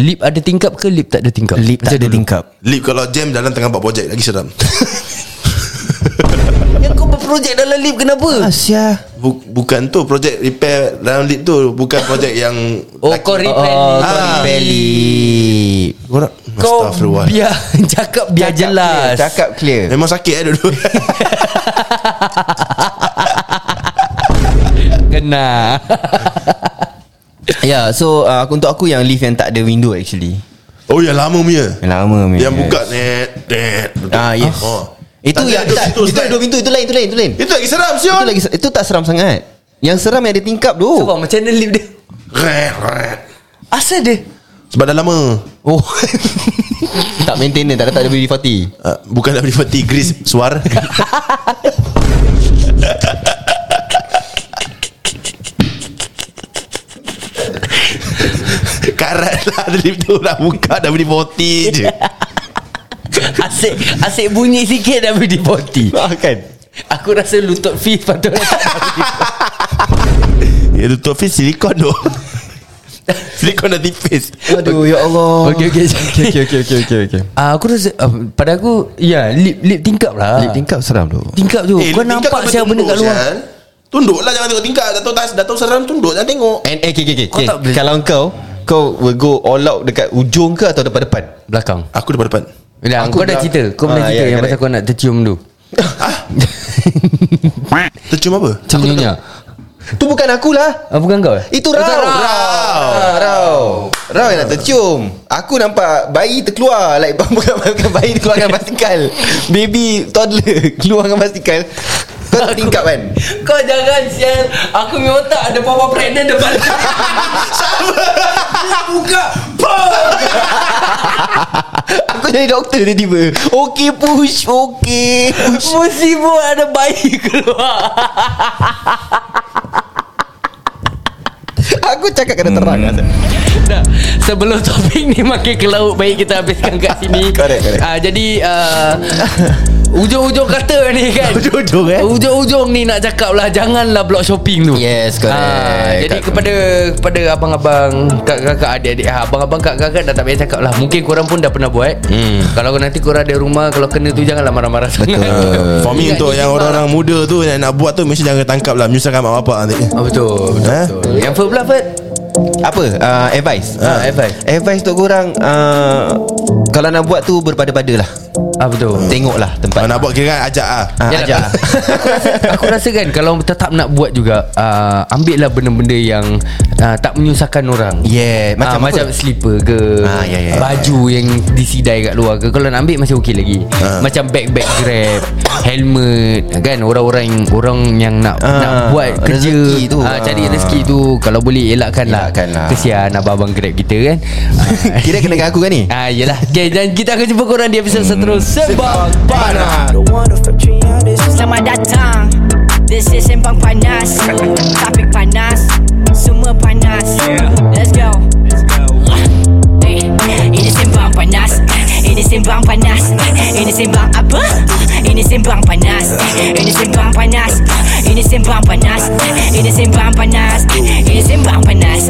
Speaker 3: Lip ada tingkap ke lip tak ada tingkap?
Speaker 4: Lip tak ada
Speaker 3: dulu.
Speaker 4: tingkap
Speaker 2: Lip kalau jam Dalam tengah buat projek Lagi seram
Speaker 3: Yang kau berprojek dalam lip kenapa?
Speaker 4: Asia
Speaker 2: Bu- Bukan tu Projek repair Dalam lip tu Bukan projek yang
Speaker 3: Oh kau
Speaker 4: Oh
Speaker 3: repel
Speaker 4: kau
Speaker 2: Ah.
Speaker 4: repel lip
Speaker 2: Korang
Speaker 3: Kau
Speaker 2: Astagfirullah.
Speaker 3: biar cakap biar
Speaker 4: Cakap
Speaker 3: jelas.
Speaker 4: clear, Cakap clear
Speaker 2: Memang sakit eh dulu
Speaker 3: Kena.
Speaker 4: ah, Ya yeah, so uh, aku- Untuk aku yang lift yang tak ada window actually
Speaker 2: Oh yang lama punya
Speaker 4: Yang lama punya,
Speaker 2: Yang
Speaker 4: yes.
Speaker 2: buka net net
Speaker 4: Ah yes.
Speaker 2: Oh.
Speaker 4: Itu
Speaker 2: Tak,
Speaker 4: yang
Speaker 2: ada dua
Speaker 4: tak,
Speaker 2: pintu,
Speaker 4: itu
Speaker 2: Ustaz.
Speaker 4: ada dua pintu itu lain itu lain itu lain.
Speaker 2: Itu lagi seram
Speaker 4: Itu
Speaker 2: Sion
Speaker 4: lagi itu tak seram sangat. Yang seram yang ada tingkap tu.
Speaker 3: Sebab macam mana lip dia
Speaker 2: Red, red.
Speaker 3: Asal dia
Speaker 2: Sebab dah lama
Speaker 4: Oh. tak maintain dia, tak letak WD-40.
Speaker 2: uh, Bukan nak beli peti Gris suar Karat lah Dari tu nak buka Dah beli peti je
Speaker 3: Asyik Asyik bunyi sikit Dah beli poti
Speaker 4: Ah kan.
Speaker 3: Aku rasa lutut fee Patut
Speaker 2: Ya tutup face silikon tu Silikon dah tipis
Speaker 4: Aduh ya Allah.
Speaker 3: Okay, okay, okay, okay,
Speaker 4: okay okay okay.
Speaker 3: Ah, Aku rasa uh, Pada aku Ya lip, lip tingkap lah
Speaker 4: Lip tingkap seram tu.
Speaker 3: Tingkap tu eh, Kau
Speaker 2: tingkap
Speaker 3: nampak
Speaker 2: kena
Speaker 3: siapa benda
Speaker 2: tunduk,
Speaker 3: kat luar
Speaker 2: Sial. Tunduk lah jangan tengok tingkap Dah tahu, tak- dah tahu seram tunduk Jangan tengok
Speaker 4: And eh, okay, okay, okay.
Speaker 3: Kau
Speaker 4: okay.
Speaker 3: tak boleh-
Speaker 4: Kalau kau Kau will go all out Dekat ujung ke Atau depan-depan
Speaker 3: Belakang
Speaker 2: Aku depan-depan
Speaker 3: Dah, Kau
Speaker 4: Aku
Speaker 3: dah
Speaker 4: belak-
Speaker 3: cerita Kau pernah
Speaker 4: Ah,
Speaker 3: cerita
Speaker 4: ya,
Speaker 3: Yang pasal
Speaker 4: correct.
Speaker 3: kau nak tercium tu
Speaker 2: Tercium apa?
Speaker 3: Ciumnya
Speaker 4: Tu bukan lah. akulah
Speaker 3: ah, Bukan kau eh?
Speaker 4: Itu Rau Rau Ah, Rau Rau yang nak tercium Aku nampak Bayi terkeluar Like bukan, bukan bayi terkeluar dengan basikal Baby toddler Keluar dengan basikal Kau tak tingkap kan
Speaker 3: Kau jangan sial Aku memang tak ada papa pregnant depan Buka
Speaker 4: Aku jadi doktor tiba-tiba Okay push Okay push
Speaker 3: Musibah ada bayi keluar
Speaker 4: Aku cakap kena terang hmm.
Speaker 3: Dah, sebelum topik ni makin ke laut Baik kita habiskan kat sini
Speaker 4: Correct, correct.
Speaker 3: Ah, Jadi uh, Ujung-ujung kata ni kan
Speaker 4: Ujung-ujung, eh?
Speaker 3: Ujung-ujung ni nak cakap lah Janganlah blog shopping tu Ah,
Speaker 4: Yes, correct.
Speaker 3: Jadi
Speaker 4: Kat-
Speaker 3: kepada Kepada abang-abang Kakak-kakak adik-adik ah, Abang-abang kakak-kakak dah tak payah cakap lah Mungkin korang pun dah pernah buat
Speaker 4: Hmm.
Speaker 3: Kalau nanti korang ada rumah Kalau kena tu janganlah marah-marah Betul
Speaker 2: For me untuk yang orang-orang muda tu Yang nak buat tu Mesti jangan tangkap lah Menyusahkan mak bapak nanti
Speaker 3: oh, Betul, betul,
Speaker 2: Eh?
Speaker 3: betul. Yang first pula first
Speaker 4: Apa uh, Advice
Speaker 3: Ah, advice.
Speaker 4: Advice untuk korang uh, Kalau nak buat tu Berpada-pada lah
Speaker 3: Ah betul
Speaker 4: Tengoklah tempat
Speaker 2: Nak buat kira kan ajak lah
Speaker 4: Ah,
Speaker 3: Yalah,
Speaker 4: ajak lah.
Speaker 3: aku rasa aku rasa kan kalau tetap nak buat juga uh, ambil lah benda-benda yang uh, tak menyusahkan orang.
Speaker 4: Yeah, macam
Speaker 3: Macam Ah, macam
Speaker 4: apa?
Speaker 3: slipper ke
Speaker 4: Ah, ya, ya, ya.
Speaker 3: baju yang disidai kat luar ke kalau nak ambil masih okey lagi.
Speaker 4: Ah.
Speaker 3: Macam bag-bag Grab, helmet kan orang-orang orang yang nak
Speaker 4: Ah,
Speaker 3: nak buat kerja
Speaker 4: rezeki tu.
Speaker 3: ah, cari
Speaker 4: Ah.
Speaker 3: rezeki tu kalau boleh elakkan lah.
Speaker 4: Elakkan lah.
Speaker 3: Kesian abang-abang Grab kita kan. Ah,
Speaker 4: Kira kena dengan aku kan ni
Speaker 3: Ah yelah Okay dan kita akan jumpa korang Di episod seterusnya Sebab
Speaker 4: Panah
Speaker 1: Selamat datang This is Sembang Panas Topik panas Semua panas Let's go Eh, Ini Sembang Panas Ini Sembang Panas Ini Sembang apa? Ini Sembang Panas Ini Sembang Panas Ini Sembang Panas Ini Sembang Panas Ini Sembang Panas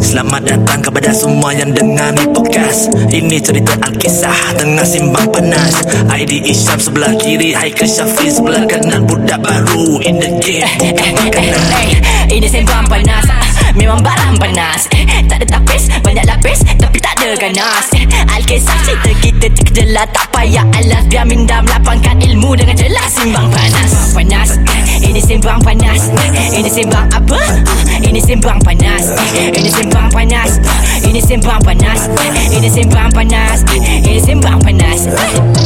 Speaker 5: Selamat datang kepada semua yang dengar ni podcast Ini cerita Alkisah tengah simbang panas ID Isyam sebelah kiri Haikal Syafiq sebelah kanan Budak baru in the game
Speaker 1: Eh, eh,
Speaker 5: bukan
Speaker 1: eh,
Speaker 5: makanan
Speaker 1: eh, Ini sembang panas Ah, Memang barang panas Eh, Tak ada tapis Banyak lapis Tapi tak ada ganas Eh, Alkisah cerita kita terkejelah Tak payah alas Biar mindam lapangkan ilmu Dengan jelas Simbang panas Sembang panas Eh, Ini sembang panas Eh, Ini sembang apa? Ah, Ini sembang panas Eh, Ini sembang panas Ah, Ini sembang panas Eh, Ini sembang panas Eh, Ini sembang panas Eh,